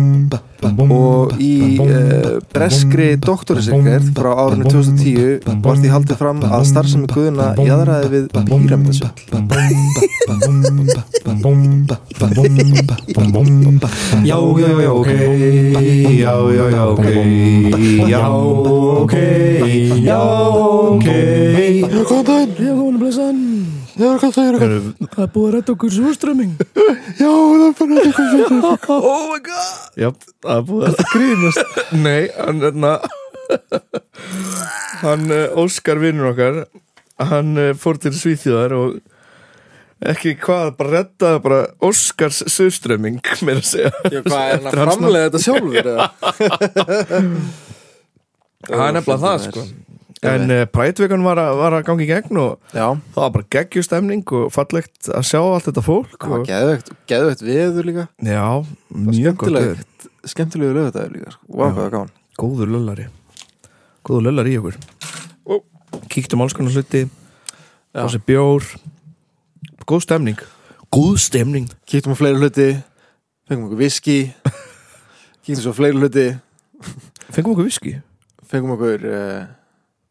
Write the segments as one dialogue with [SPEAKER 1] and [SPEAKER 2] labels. [SPEAKER 1] og í uh, breskri doktorinsikverð frá árinu 2010 var því haldið fram að starfsemi guðuna jæðraði við píramidasvell
[SPEAKER 2] Já, já, já, ok Já, já, já, ok Já, ok Já, ok
[SPEAKER 3] Góðan daginn Já, góðan og blessan Já, hvað það eru? Það er búið að redda okkur súströmming Já, það er búið að redda okkur
[SPEAKER 1] Oh my god
[SPEAKER 2] Já, það er búið að grínast
[SPEAKER 1] Nei, hann hérna Hann eh, Óskar vinnur okkar Hann eh, fór til Svíþjóðar og ekki hvað, bara reddaði bara Óskars surströmming meira að segja
[SPEAKER 4] Já, hvað er hann að framlega þetta sjálfur? eða?
[SPEAKER 1] Það er nefnilega það sko En uh, prætvikan var, að- var að gangi í gegn og
[SPEAKER 4] Já,
[SPEAKER 1] það var bara geggjustemning og fallegt að sjá allt þetta fólk
[SPEAKER 4] það var
[SPEAKER 1] og,
[SPEAKER 4] geðvegt, geðvegt veður líka
[SPEAKER 1] Já, mjög gott veður.
[SPEAKER 4] Skemmtilegt, skemmtilegu lögutæður líka sko. Vá, hvað það gáðan
[SPEAKER 1] Góður löllari Góður löllari í okkur
[SPEAKER 4] Ó.
[SPEAKER 1] Kíktum alls konar hluti Fá sér bjór Góð stemning Góð stemning
[SPEAKER 4] Kíktum á fleiri hluti Fengum okkur viski Kíktum svo á fleiri hluti
[SPEAKER 1] Fengum okkur viski
[SPEAKER 4] Fengum okkur uh,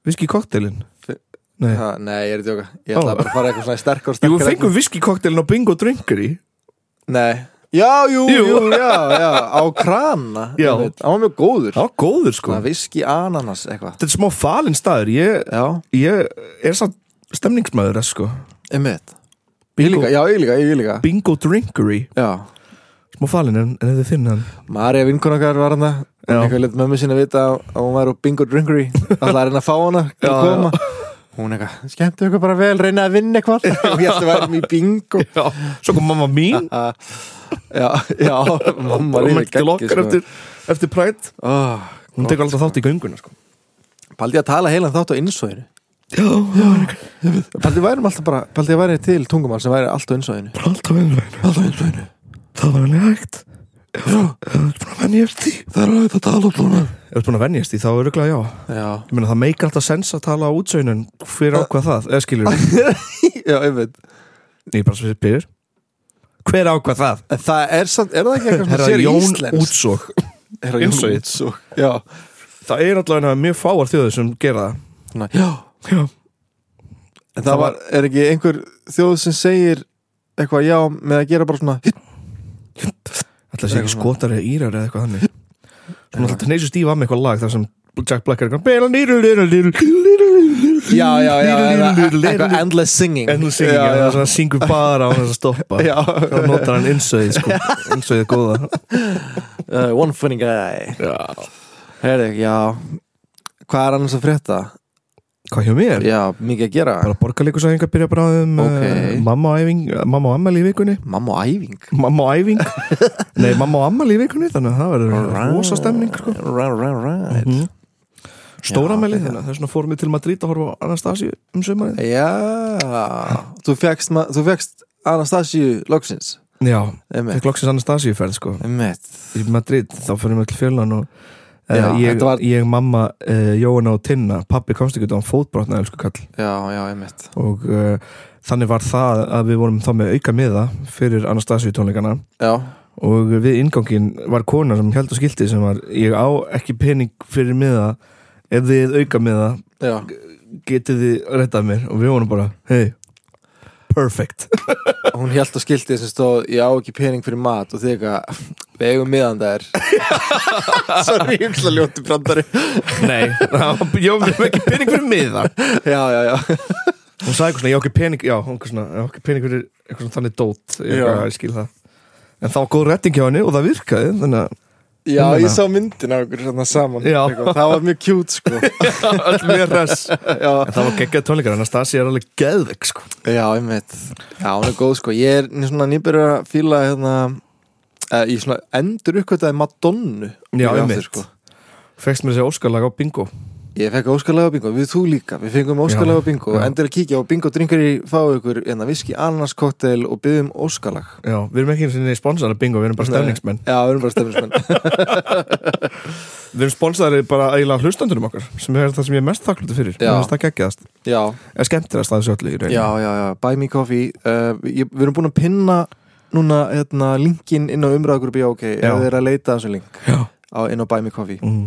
[SPEAKER 1] Viski kokteilin
[SPEAKER 4] Fe-
[SPEAKER 1] Nei
[SPEAKER 4] ha, Nei, ég er í djóka Ég
[SPEAKER 1] Ó.
[SPEAKER 4] ætla bara að fara eitthvað svona sterkar og
[SPEAKER 1] Jú,
[SPEAKER 4] sterkar
[SPEAKER 1] fengum viski kokteilin á bingo drinkari
[SPEAKER 4] Nei Já, jú,
[SPEAKER 1] Jú.
[SPEAKER 4] jú, já, já Á krana
[SPEAKER 1] Já.
[SPEAKER 4] einmitt. Hann var mjög góður
[SPEAKER 1] Já, góður sko
[SPEAKER 4] Svona viski ananas eitthvað
[SPEAKER 1] Þetta er smá falinn staður Ég,
[SPEAKER 4] Já,
[SPEAKER 1] ég er samt stemningsmaður sko
[SPEAKER 4] einmitt Ég líka, já, ég líka, ég líka
[SPEAKER 1] Bingo Drinkery
[SPEAKER 4] Já,
[SPEAKER 1] Smá falinn en, en þetta er þinn hann
[SPEAKER 4] Marja vinkun okkar var hana
[SPEAKER 1] Já.
[SPEAKER 4] hún eitthvað let mömmu sinni vita að að hún væri á bingo drinkery alltaf að reyna að fá hana til
[SPEAKER 1] Já,
[SPEAKER 4] að
[SPEAKER 1] já.
[SPEAKER 4] koma hún eitthvað, skemmtu ykkur bara vel, reyna að vinna eitthvað og ég ætti að væri í bingo
[SPEAKER 1] Já, svo kom mamma mín
[SPEAKER 4] Ah, já, já, mamma
[SPEAKER 1] Hún
[SPEAKER 4] lífi
[SPEAKER 1] mætti til
[SPEAKER 4] sko.
[SPEAKER 1] okkar eftir, eftir Pride
[SPEAKER 4] Ah.
[SPEAKER 1] Hún tekur alltaf þátt í gönguna sko
[SPEAKER 4] Paldi að tala heilan þátt á innsvæðinu Paldi værum alltaf bara Paldi að væri til tungumál sem væri allt á innsvæðinu
[SPEAKER 1] Bara alltaf vinnvæðinu
[SPEAKER 3] Alltaf eins og einu
[SPEAKER 1] Það var henni hægt
[SPEAKER 3] Vennjast því Það er auðvitað að
[SPEAKER 4] um
[SPEAKER 3] tala upp núna
[SPEAKER 1] Ef þú ert búin að venjast því þá er auðvitað já
[SPEAKER 4] Já,
[SPEAKER 1] Ég meina það meikar alltaf sens að tala á útsögn en hver ákvað það, eða skilur við
[SPEAKER 4] já, einmitt
[SPEAKER 1] Ég bara sem spyrir Hver ákvað það?
[SPEAKER 4] En það er samt, er það ekki eitthvað sem
[SPEAKER 1] Herra
[SPEAKER 4] sér í
[SPEAKER 1] Jón
[SPEAKER 4] Íslands?
[SPEAKER 1] Útsog
[SPEAKER 4] Herra Jón
[SPEAKER 1] Útsogið.
[SPEAKER 4] Útsog Um Já,
[SPEAKER 1] Það er allavega mjög fáar þjóður sem gera það
[SPEAKER 4] Svona, já
[SPEAKER 1] Já.
[SPEAKER 4] En það var, er ekki einhver þjóð sem segir eitthvað já með að gera bara svona hitt
[SPEAKER 1] Alltaf sé ekki skotar eða írar eða eitthvað þannig Svona alltaf neysu stífa með eitthvað lag þar sem Jack Black er eitthvað
[SPEAKER 4] Já, já, já, eða eitthvað endless singing
[SPEAKER 1] En þú syngir
[SPEAKER 4] Já,
[SPEAKER 1] ekki,
[SPEAKER 4] já.
[SPEAKER 1] það syngur bara á þess að stoppa
[SPEAKER 4] Já,
[SPEAKER 1] Þá notar hann innsöðið sko, innsöðið góða
[SPEAKER 4] uh, one funny guy
[SPEAKER 1] Já.
[SPEAKER 4] Herri, já Hvað er annars að frétta?
[SPEAKER 1] Hvað hjá mér?
[SPEAKER 4] Já, mikið að gera
[SPEAKER 1] Bara borgarleikusæðingar byrja bara um
[SPEAKER 4] Ok.
[SPEAKER 1] okay. mamma, á æfing, mamma og ammali í vikunni
[SPEAKER 4] Mamma og æfing
[SPEAKER 1] Mamma og æfing Nei, mamma og ammali í vikunni Þannig að það verður rosa stemning sko.
[SPEAKER 4] Right, right, right
[SPEAKER 1] Mhm. Stóra ammali
[SPEAKER 4] Já,
[SPEAKER 1] þannig að Þess vegna fórum við til Madrid að horfa á Anastasíu um sömarið
[SPEAKER 4] Já Þú fegst, þú fegst Anastasíu Loksins
[SPEAKER 1] Já,
[SPEAKER 4] Einmitt,
[SPEAKER 1] við loksins Anastasíu ferð sko
[SPEAKER 4] einmitt
[SPEAKER 1] Í Madrid, þá fyrir við til fjölan og
[SPEAKER 4] Já,
[SPEAKER 1] Já, ég,
[SPEAKER 4] þetta var-
[SPEAKER 1] ég, mamma, uh, Jóhanna og Tinna pappi komst ekki út á hann fótbrotna elsku kall
[SPEAKER 4] Já, já, einmitt
[SPEAKER 1] og uh, þannig var það að við vorum þá með auka miða fyrir Anastasíu tónleikana
[SPEAKER 4] Já,
[SPEAKER 1] og við inngangin var kona sem held á skilti sem var ég á ekki pening fyrir miða ef þið auka miða
[SPEAKER 4] já
[SPEAKER 1] getið þið rettað mér og við vorum bara hei, perfect
[SPEAKER 4] Hún held á skiltið sem stóð Ég á ekki pening fyrir mat og þið eitthvað Við eigum miðan þær Sorry, ég hugsa ljóti brandari
[SPEAKER 1] nei, ég var ekki pening fyrir miða
[SPEAKER 4] Já, já, já
[SPEAKER 1] hún sagði eitthvað svona, ég á ekki pening já, hún eitthvað svona, ég á ekki pening fyrir eitthvað svona þannig dót, ég,
[SPEAKER 4] Já.
[SPEAKER 1] já. ég skil það en það var góð retting hjá henni og það virkaði þannig að
[SPEAKER 4] Já,
[SPEAKER 1] Ég meina-
[SPEAKER 4] ég sá myndin af ykkur svona saman
[SPEAKER 1] Já.
[SPEAKER 4] eitthvað. Það var mjög cute sko
[SPEAKER 1] öll mjög res en
[SPEAKER 4] Já,
[SPEAKER 1] það var geggjað tónleikar, en að Stasi er alveg geðvegg sko.
[SPEAKER 4] já einmitt Já, hún er góð sko Ég er ný- svona nýbyrður að fíla hérna eh, Ég svona endur uppkvæmtaði Madonnu
[SPEAKER 1] Já,
[SPEAKER 4] Aftur,
[SPEAKER 1] einmitt.
[SPEAKER 4] sko.
[SPEAKER 1] fegst mér þessi óskalag á bingo
[SPEAKER 4] Ég fekk óskalega bingo, við þú líka Við fengum óskalega bingo
[SPEAKER 1] já.
[SPEAKER 4] Endur að kíkja á bingo dringur í fáu ykkur En að viski ananaskoktel og byggum óskalag
[SPEAKER 1] já, við erum ekki einu sinni sponsorar af bingo, við erum bara stefningsmenn
[SPEAKER 4] Já, við erum bara stefningsmenn
[SPEAKER 1] Við erum sponsaðari bara eiginlega hlustandurum okkar sem er það sem ég er mest þakklúti fyrir
[SPEAKER 4] Já.
[SPEAKER 1] Mér finnst það geggjaðast
[SPEAKER 4] Já,
[SPEAKER 1] eða skemmtilegast að þessu öllu í rauninni
[SPEAKER 4] já, já, já, buy me coffee uh, ég, Við erum búin að pinna núna hérna, linkin inn á umræðagrupi ok,
[SPEAKER 1] Já.
[SPEAKER 4] ef þið er að leita að þessum link
[SPEAKER 1] Já.
[SPEAKER 4] á, inn á Buy Me Coffee
[SPEAKER 1] mm.
[SPEAKER 4] um,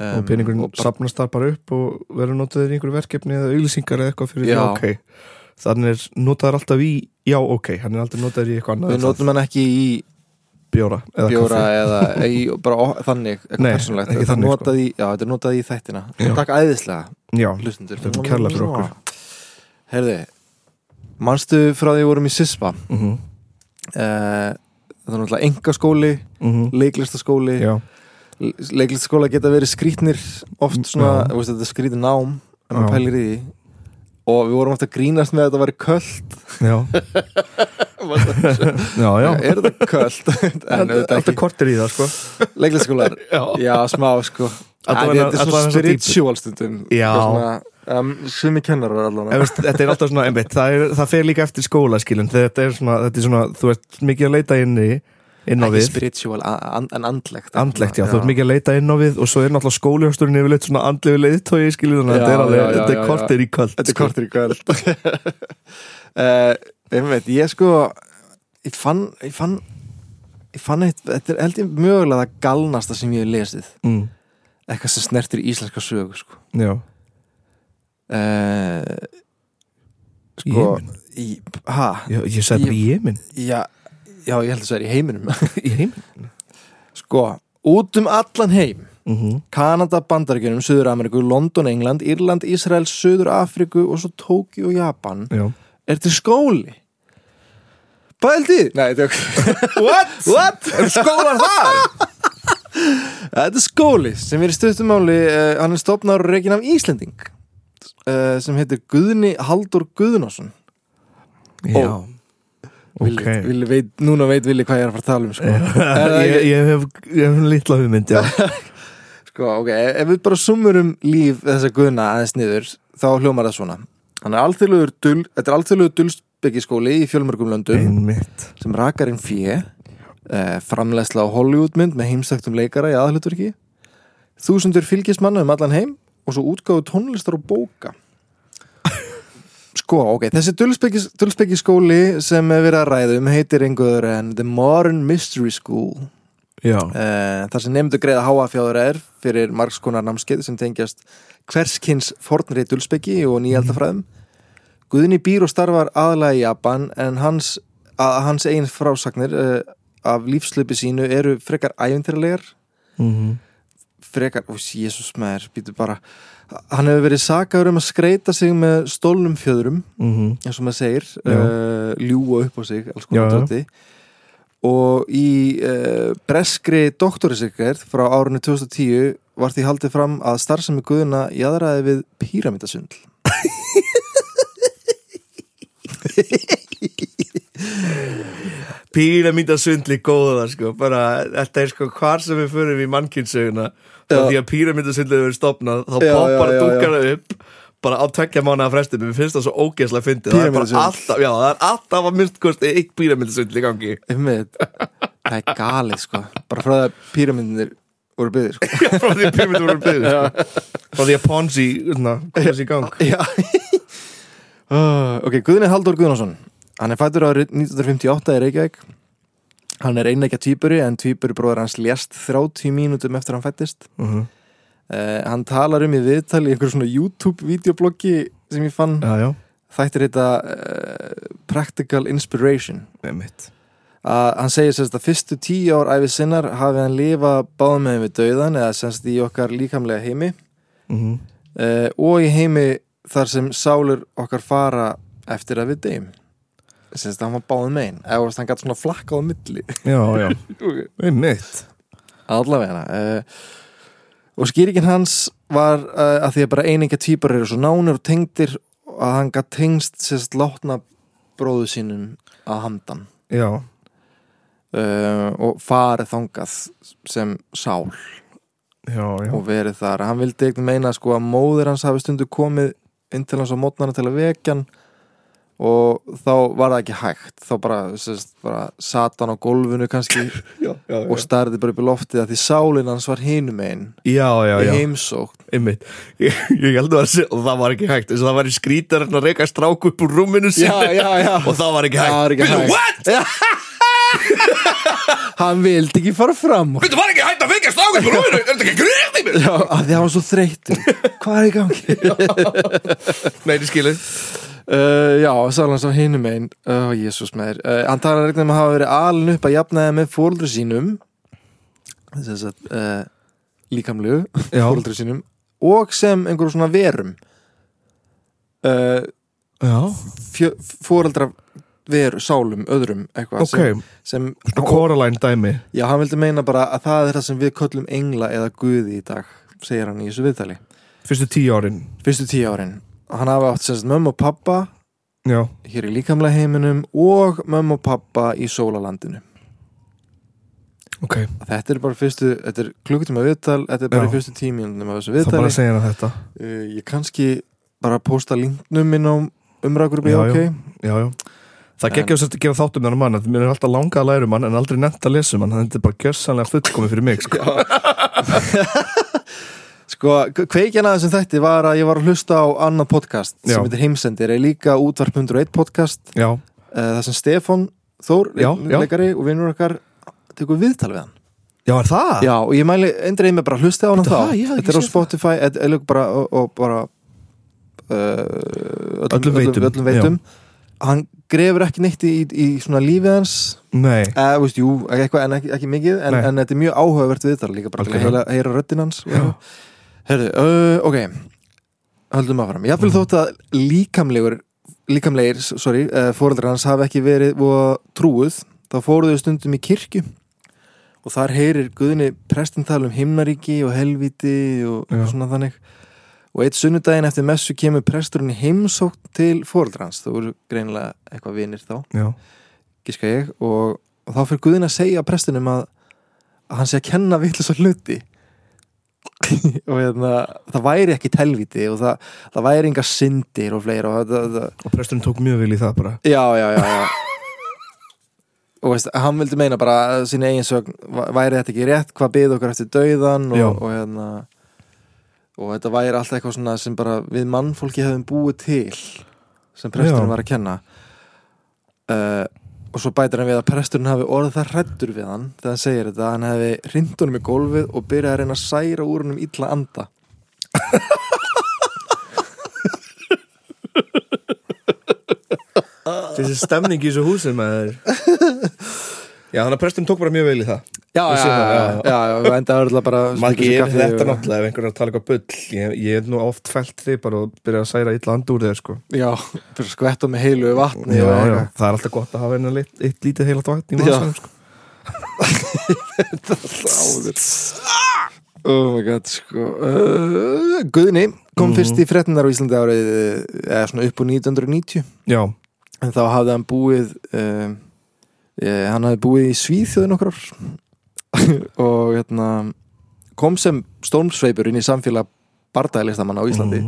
[SPEAKER 1] og peningurinn
[SPEAKER 4] og bara-
[SPEAKER 1] safnast þar bara upp og verður notaður í einhverju verkefni eða auglýsingar eða eitthvað fyrir
[SPEAKER 4] Já.
[SPEAKER 1] já, ok þannig er notaður alltaf í já ok hann er aldrei notaður í eitthvað annað
[SPEAKER 4] við
[SPEAKER 1] en það.
[SPEAKER 4] notum hann ekki í
[SPEAKER 1] bjóra eða
[SPEAKER 4] bjóra
[SPEAKER 1] kaffi.
[SPEAKER 4] eða í, bara o- þannig, eitthvað
[SPEAKER 1] Nei,
[SPEAKER 4] persónulegt
[SPEAKER 1] ekki
[SPEAKER 4] Þetta er
[SPEAKER 1] þannig, sko.
[SPEAKER 4] notað í, já, þetta er notað í þættina
[SPEAKER 1] Já.
[SPEAKER 4] takk æðislega,
[SPEAKER 1] já,
[SPEAKER 4] hlustendur
[SPEAKER 1] Þetta er kærlega fyrir okkur.
[SPEAKER 4] herði, manstu frá því við vorum í SISPA
[SPEAKER 1] mm -hmm.
[SPEAKER 4] Eh, það er náttúrulega engaskóli leiklistaskóli
[SPEAKER 1] Mhm. já,
[SPEAKER 4] leiklistaskóla geta verið skrítnir oft svona,
[SPEAKER 1] Já.
[SPEAKER 4] þú veist, þetta er skrítin nám en maður
[SPEAKER 1] Já.
[SPEAKER 4] pælir í því og við vorum oft að grínast með að þetta væri köld
[SPEAKER 1] já já, já
[SPEAKER 4] er þetta köld? en
[SPEAKER 1] Allt-
[SPEAKER 4] þetta
[SPEAKER 1] alltaf
[SPEAKER 4] ekki,
[SPEAKER 1] kortir í það sko
[SPEAKER 4] leiklistaskólar
[SPEAKER 1] já,
[SPEAKER 4] já, smá sko en þetta
[SPEAKER 1] Allavega-
[SPEAKER 4] er svona
[SPEAKER 1] allavega þessa dýpu.
[SPEAKER 4] spiritual stundum
[SPEAKER 1] Já.
[SPEAKER 4] Eitthvað svona, um, sumi kennarar
[SPEAKER 1] Ef
[SPEAKER 4] allavega
[SPEAKER 1] veist, þetta er alltaf svona, einmitt, það, er, það fer líka eftir skóla skilin, þetta er svona, þetta er svona þú ert mikið að leita inn í inn á
[SPEAKER 4] ekki
[SPEAKER 1] við,
[SPEAKER 4] spiritual, a- an- en andlegt
[SPEAKER 1] andlegt já, þú ert mikið að leita inn á við og svo er náttúrulega skólihjósturinn yfirleitt svona andlegu leiðtói skilin, þannig
[SPEAKER 4] Já,
[SPEAKER 1] að þetta er
[SPEAKER 4] já,
[SPEAKER 1] alveg,
[SPEAKER 4] já,
[SPEAKER 1] þetta
[SPEAKER 4] já,
[SPEAKER 1] er
[SPEAKER 4] já.
[SPEAKER 1] kortir í kvöld
[SPEAKER 4] Þetta er
[SPEAKER 1] sko.
[SPEAKER 4] kortur í kvöld uh, Einmitt, ég sko Ég fann Ég fann, ég fann eitt, Þetta er held ég mögulega það galnasta sem ég hef lesið
[SPEAKER 1] mm,
[SPEAKER 4] Eitthvað sem snertir íslenska sögu sko.
[SPEAKER 1] já,
[SPEAKER 4] uh, Sko í, ha,
[SPEAKER 1] já, ég sagði bara í Jemen
[SPEAKER 4] já, já, ég held að það er í heiminum
[SPEAKER 1] í Jemen
[SPEAKER 4] Sko, út um allan heim
[SPEAKER 1] mm
[SPEAKER 4] Mhm. Kanada, Bandaríkjunum, Suður-Ameríku, London, England, Írland, Ísrael, Suður-Afríku og svo Tóki og Japan
[SPEAKER 1] já,
[SPEAKER 4] Er þetta skóli? Pældi? Nei, þetta er What? What? Er skólar það? þetta er skóli sem er í stöðtumáli uh, hann er stopnar og reikin af Íslending uh, sem heitir Guðni Haldur Guðnason
[SPEAKER 1] já. ok
[SPEAKER 4] Villi, villi veit, Núna veit Vili hvað ég er að fara að tala um sko. Er það
[SPEAKER 1] ég,
[SPEAKER 4] ekki-
[SPEAKER 1] ég hef, ég hef litla hugmynd já,
[SPEAKER 4] Sko, ok, ef ef við bara sumurum líf þessa guðna aðeins niður, þá hljómar það svona. Hann er alþjóðlegur dul, þetta er alþjóðlegur dulsbyggiskóli í fjölmörgum löndum
[SPEAKER 1] einmitt
[SPEAKER 4] sem rakar inn fjö, eh, framlegsla á Hollywoodmynd með heimsæktum leikara í aðhlutverki, þúsundur fylgismanna um allan heim og svo útgáðu tónlistar og bóka. Sko, ok, þessi dulsbyggis- dulsbyggiskóli sem er verið að ræða um heitir einhver en The Modern Mystery School
[SPEAKER 1] já,
[SPEAKER 4] uh, þar sem nefndu greiða háa fjárur fyrir margskonar námskeið sem tengjast hverskins fornri dulspeki og nýjaldafræðum Guðni býr og starfar aðlega í Japan en hans, að, hans eigin frásagnir uh, af lífslöpi sínu eru frekar ævintýralegar
[SPEAKER 1] mm
[SPEAKER 4] frekar, ó, jésus maður, býtu bara hann hefur verið sakaður um að skreita sig með stólnum fjöðrum
[SPEAKER 1] mhm.
[SPEAKER 4] eins og maður segir
[SPEAKER 1] Já.
[SPEAKER 4] uh, ljúa upp á sig alls
[SPEAKER 1] Já,
[SPEAKER 4] konar
[SPEAKER 1] já.
[SPEAKER 4] dóti og í uh, breskri doktorisirkverð frá árinu 2010 var því haldið fram að starfsemi guðuna jaðraði við píramítasundl
[SPEAKER 1] Píramítasundli góða sko, bara, þetta er sko hvar sem við förum í mannkynnsöguna
[SPEAKER 4] Já.
[SPEAKER 1] frá því að píramítasundli hefur stopnað þá
[SPEAKER 4] Já,
[SPEAKER 1] poppar
[SPEAKER 4] já, já, já.
[SPEAKER 1] dúkana upp bara á tvekja mánuða frestum mér finnst það svo ógeðslega fyndið það er bara
[SPEAKER 4] Píramídasundl.
[SPEAKER 1] alltaf, já, það er alltaf að minnst kosti eitt píramítasundli í gangi
[SPEAKER 4] Einmitt. það er galið sko bara frá það að píramítinir voru byggðir sko.
[SPEAKER 1] frá því að píramítasundli voru byggð sko. frá því að Ponzi na, komast í gang
[SPEAKER 4] Já Ah, Ok, Guðni Haldur Guðnason Hann er fættur árið 1958 í Reykjavík Hann er einleikja týpuri en týpuri bróðar hans lést 30 mínútum eftir hann fættist
[SPEAKER 1] Mhm.
[SPEAKER 4] Eh, Hann talar um í viðtal í einhverjum svona YouTube-vídeobloggi sem ég fann
[SPEAKER 1] já, já,
[SPEAKER 4] Þættir þetta uh, Practical Inspiration
[SPEAKER 1] einmitt
[SPEAKER 4] að hann segir semst að fyrstu tíu ár æfi sinnar hafi hann lifa báðum með við dauðan eða semst í okkar líkamlega heimi
[SPEAKER 1] Mhm.
[SPEAKER 4] uh, og í heimi þar sem sálur okkar fara eftir að við deyjum sem þetta hann var báðum megin eða þú veist, hann gætt svona flakkað á milli
[SPEAKER 1] já, já, einmitt
[SPEAKER 4] allavega uh, og skýringin hans var uh, að því að bara einingja týpar eru svo nánir og tengdir að hann gætt tengst sérst látna bróðu sínum að handan
[SPEAKER 1] já,
[SPEAKER 4] uh, og farið þangað sem sál
[SPEAKER 1] já, já
[SPEAKER 4] og verið þar hann vildi eitthvað meina sko að móðir hans hafi stundu komið inn til hans á mótnana til að vekja hann og þá var það ekki hægt þá bara, sérst, bara sat hann á gólfinu kannski
[SPEAKER 1] já, já, já.
[SPEAKER 4] og starði bara upp í loftið að því sálin hans var hinum einn
[SPEAKER 1] já, já,
[SPEAKER 4] í
[SPEAKER 1] já.
[SPEAKER 4] heimsókn
[SPEAKER 1] einmitt ég, ég held að það, og það var ekki hægt þess að það var í skrítar að reyka strák upp úr rúminu sínu
[SPEAKER 4] já, já
[SPEAKER 1] og það var ekki hægt
[SPEAKER 4] það var ekki
[SPEAKER 1] Býttu,
[SPEAKER 4] hægt
[SPEAKER 1] what?
[SPEAKER 4] Já. Hann vildi ekki fara fram úr
[SPEAKER 1] Þú var ekki hægt að fengja snákast með rúinu, er þetta ekki gríðt í mér?
[SPEAKER 4] Já, af því að hann var svo þreytur Hvað er í gangi?
[SPEAKER 1] Nei, þið skilið.
[SPEAKER 4] Uh, já, Salans á hinum einn oh, Jésús meður uh, Hann talar regnum að hafa verið alin upp að jafnaði með fóruldru sínum Þess að uh, líkamlegu
[SPEAKER 2] Já.
[SPEAKER 4] fóruldru sínum og sem einhverjum svona verum uh,
[SPEAKER 2] Já,
[SPEAKER 4] fóruldra veru, sálum, öðrum eitthvað
[SPEAKER 1] Ok.
[SPEAKER 4] sem,
[SPEAKER 1] Og
[SPEAKER 4] sem
[SPEAKER 1] Coraline dæmi.
[SPEAKER 4] Já, hann vildi meina bara að það er það sem við köllum engla eða guði í dag, segir hann í þessu viðtali.
[SPEAKER 1] Fyrstu tíu árin.
[SPEAKER 4] Fyrstu tíu árin. Hann hafi átt semst mömmu og pappa
[SPEAKER 1] Já.
[SPEAKER 4] hér í líkamlega heiminum og mömmu og pappa í sólalandinu.
[SPEAKER 1] Ok.
[SPEAKER 4] Þetta er bara fyrstu, þetta er klukkutíma viðtal, þetta er bara
[SPEAKER 1] Já.
[SPEAKER 4] í fyrstu tíminunum af þessu
[SPEAKER 1] Það bara
[SPEAKER 4] viðtali.
[SPEAKER 1] að segja hana þetta.
[SPEAKER 4] Uh, ég kannski bara posta linknum inn á umrækur
[SPEAKER 1] Já,
[SPEAKER 4] blíð, ok?
[SPEAKER 1] Já, já. Það
[SPEAKER 4] En-
[SPEAKER 1] gekkja þess að gefa þáttum með hann mann, að mér er alltaf langað að læra um hann en aldrei nefnt að lesa um hann, þannig að þetta er bara gjössanlega fullkomið fyrir mig, sko.
[SPEAKER 4] Sko, kveikjan að þessum þætti var að ég var að hlusta á annað podcast
[SPEAKER 1] Já.
[SPEAKER 4] sem heitir Heimsendir, er líka útvarp 101 podcast
[SPEAKER 1] Já,
[SPEAKER 4] Eh, það sem Stefan Þór,
[SPEAKER 1] Já, já.
[SPEAKER 4] leikari og vinnur okkar tekur viðtal við hann
[SPEAKER 1] já, er það?
[SPEAKER 4] Já, og ég mæli endreið með bara að hlusta á hann þá
[SPEAKER 1] Ah. það? Ég hafði ekki
[SPEAKER 4] Þetta er á
[SPEAKER 1] séð það.
[SPEAKER 4] Spotify, þetta er líka bara og, og bara uh,
[SPEAKER 1] Öllum veitum,
[SPEAKER 4] öllum veitum. Hann grefur ekki neitt í, í svona lífið hans
[SPEAKER 1] Nei,
[SPEAKER 4] eða, Eh, veist, jú, eitthvað, en ekki, ekki mikið en,
[SPEAKER 1] Nei.
[SPEAKER 4] en þetta er mjög áhugavert viðtal líka bara til að heyra,
[SPEAKER 1] Algjörlega.
[SPEAKER 4] heyra röddinn hans Herðu, uh, ok Höldum áfram, ég
[SPEAKER 1] Mhm.
[SPEAKER 4] vil þótt að líkamlegur líkamlegir, s- sorry, uh, fóreldrar hans hafi ekki verið og trúið þá fóruðu þau stundum í kirkju og þar heyrir guðinni prestin tala um himnaríki og helviti og
[SPEAKER 1] Já.
[SPEAKER 4] svona þannig og eitt sunnudaginn eftir messu kemur presturinn í heimsókn til fóreldrar hans þú eru greinilega eitthvað vinir þá
[SPEAKER 1] já,
[SPEAKER 4] gíska ég og, og þá fyrir Guðin að segja prestinum að, að hann sé að kenna vitlis að hluti og hérna, það væri ekki telviti og það, það væri enga syndir og fleira og það, það,
[SPEAKER 1] og presturinn tók mjög vil í það bara.
[SPEAKER 4] já, já, já, já. og veist, hann vildi meina bara að sína eigin sögn væ- væri þetta ekki rétt, hvað byði okkur eftir dauðan og,
[SPEAKER 1] Já.
[SPEAKER 4] og hérna og þetta væri alltaf eitthvað svona sem bara við mannfólki hefum búið til sem presturinn
[SPEAKER 1] Já.
[SPEAKER 4] var að kenna uh, og svo bætir hann við að presturinn hafi orðið það hrættur við hann þegar hann segir þetta, hann hefði hrindunum í gólfið og byrjaði að reyna að særa úr hann um illa anda
[SPEAKER 1] Þessi stemning í þessu húsi með þeir. Já, þannig að presturinn tók bara mjög vil í það.
[SPEAKER 4] já,
[SPEAKER 1] Ég
[SPEAKER 4] já,
[SPEAKER 1] sé
[SPEAKER 4] já,
[SPEAKER 1] það,
[SPEAKER 4] já,
[SPEAKER 1] já.
[SPEAKER 4] já, já, og endaði örugglega bara
[SPEAKER 1] Maggi,
[SPEAKER 4] stukku sér
[SPEAKER 1] ég er
[SPEAKER 4] kaffi
[SPEAKER 1] þetta
[SPEAKER 4] og-
[SPEAKER 1] náttúrulega ef einhver er að tala eitthvað bull. Ég, ég er nú oft fælt þig bara og byrja að særa illa andur þér, sko.
[SPEAKER 4] Já, fyrir að skvetta með heilu vatni
[SPEAKER 1] Já,
[SPEAKER 4] og
[SPEAKER 1] já,
[SPEAKER 4] eitthvað.
[SPEAKER 1] það er alltaf gott að hafa einu lit, eitt lítið heilat vatn í
[SPEAKER 4] Já.
[SPEAKER 1] vasanum, sko.
[SPEAKER 4] Oh my god, sko uh, Guðni kom fyrst í frettinar á Íslandi árið eh, eða svona upp úr 1990
[SPEAKER 1] Já,
[SPEAKER 4] en þá hafði hann búið uh, eh, hann hafði búið í Svíþjóðin okkur og hérna kom sem stórmsveipur inn í samfélag bardagalistamanna á Íslandi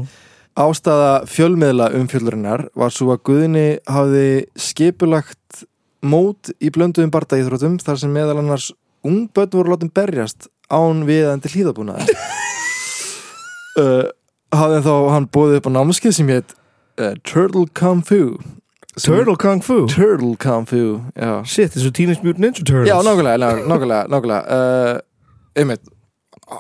[SPEAKER 4] Ástæða fjölmiðla umfjöldurinnar var svo að Guðni hafði skipulagt mót í blönduðum bardagíþrótum þar sem meðal annars ungbönn voru látum berjast án viðandi hlýðabúnaði. uh, hafði þá hann bóðið upp á námskeið sem hétt uh, Turtle Kung Fu. Sem-
[SPEAKER 1] Turtle Kung Fu.
[SPEAKER 4] Turtle Kung Fu, já.
[SPEAKER 1] Shit, þessu Teenage Mutant Ninja Turtles.
[SPEAKER 4] Já, nákvæmlega, nákvæmlega, nákvæmlega, nákvæmlega. Uh, einmitt,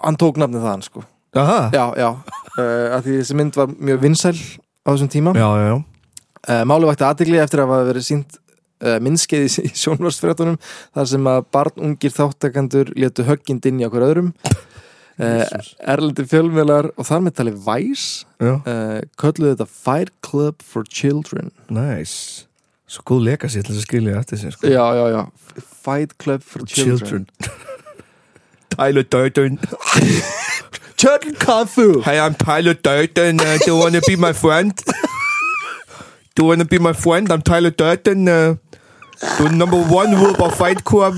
[SPEAKER 4] hann tók nafnið þaðan sko.
[SPEAKER 1] Aha.
[SPEAKER 4] Já, já, uh, að því þessi mynd var mjög vinsæl á þessum tíma uh,
[SPEAKER 1] já, já, já.
[SPEAKER 4] Máli vakti aðtegli eftir að hafa verið sínt uh, minnskeið í, í sjónvarsfréttunum þar sem að barnungir þáttakandur létu höggind inn í okkur öðrum uh, Erlendi fjölmiðlar og þar með talið væs
[SPEAKER 1] já.
[SPEAKER 4] uh, kölluðu þetta Fight Club for Children
[SPEAKER 1] Næs Svo góð legacy til þess að skilja eftir sér sko.
[SPEAKER 4] Já, já, já Fight Club for Children,
[SPEAKER 1] Tyler Durden
[SPEAKER 4] Children Kung Fu
[SPEAKER 1] Hey I'm Tyler Durden uh, Do you wanna be my friend? Do you wanna be my friend? I'm Tyler Durden uh, The number one rule about fight club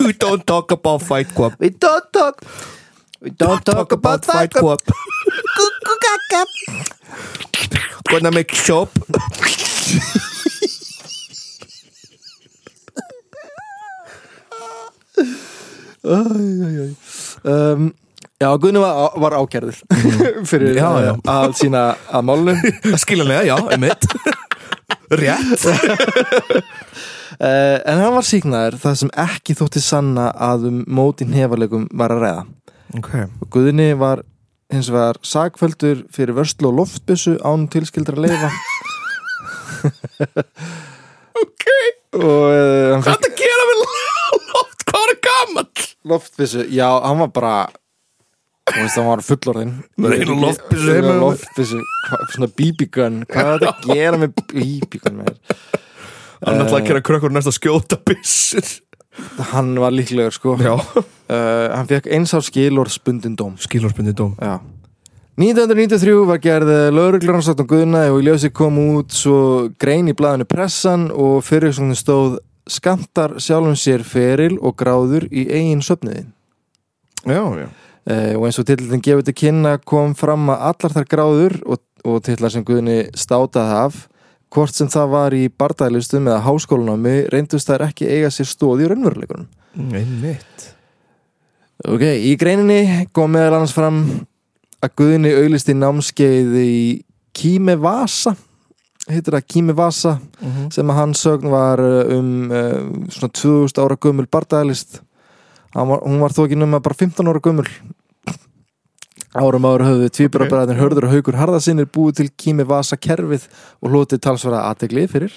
[SPEAKER 1] We don't talk about fight club
[SPEAKER 4] We don't talk We don't talk about Fight Club
[SPEAKER 1] club Gonna make shop
[SPEAKER 4] um, Já, Guðni var, var ákærður fyrir eh,
[SPEAKER 1] Já, já.
[SPEAKER 4] að sína að málunum
[SPEAKER 1] Skilja með, já, einmitt Rétt
[SPEAKER 4] Eh, en hann var síknaður það sem ekki þótti sanna að um mótin hefarlegum var að ræða.
[SPEAKER 1] Ok.
[SPEAKER 4] Og Guðni var hins vegar sakfældur fyrir vörslu og loftbyssu án tilskildra leifa.
[SPEAKER 1] Ok,
[SPEAKER 4] og uh, hann fekk
[SPEAKER 1] hvað það gera við loft, hvað er gammal?
[SPEAKER 4] loftbyssu, já, hann var bara, þú veist, hann var fullorðinn.
[SPEAKER 1] Reyna loftbyssu
[SPEAKER 4] Reyna
[SPEAKER 1] heima.
[SPEAKER 4] Loftbyssu, hva- svona BB-gun, hvað er þetta að gera með BB-gun með þér?
[SPEAKER 1] Hann ætlaði að gera krökkur næst að skjóta byssur.
[SPEAKER 4] Hann var líklegur, sko.
[SPEAKER 1] Já.
[SPEAKER 4] Uh, hann fekk eins á skilorðsbundin dóm. sko.
[SPEAKER 1] Skilorspindi dóm.
[SPEAKER 4] Já. 1993 var gerð lauruglarnsótt á Guðna og í ljósi kom út svo grein í blaðinu Pressan og fyrir svona stóð skamtar sjálfum sér feril og gráður í eigin söfniðin.
[SPEAKER 1] Já, já.
[SPEAKER 4] Uh, og eins og tillin gefur til kynna kom fram að allar þar gráður og, og tillar sem Guðni státaði af, hvort sem það var í bardælistum eða háskólanámi, reyndust þær ekki eiga sér stóð í raunveruleikunum.
[SPEAKER 1] Einmitt.
[SPEAKER 4] Ok, í greininni kom meðal annars fram að Guðni auðlist í námskeið í Kímevasa heitir það Kímevasa
[SPEAKER 1] Mhm.
[SPEAKER 4] sem að hans sögn var uh, um uh, svona 2000 ára gömul bardagalist var, hún var þó ekki nema bara 15 ára gömul Árum ára höfðu tvíburabræðin Hörður og Haukur Harðarsinir búið til Kímevasa kerfið og hlotið talsvara aðtegli fyrir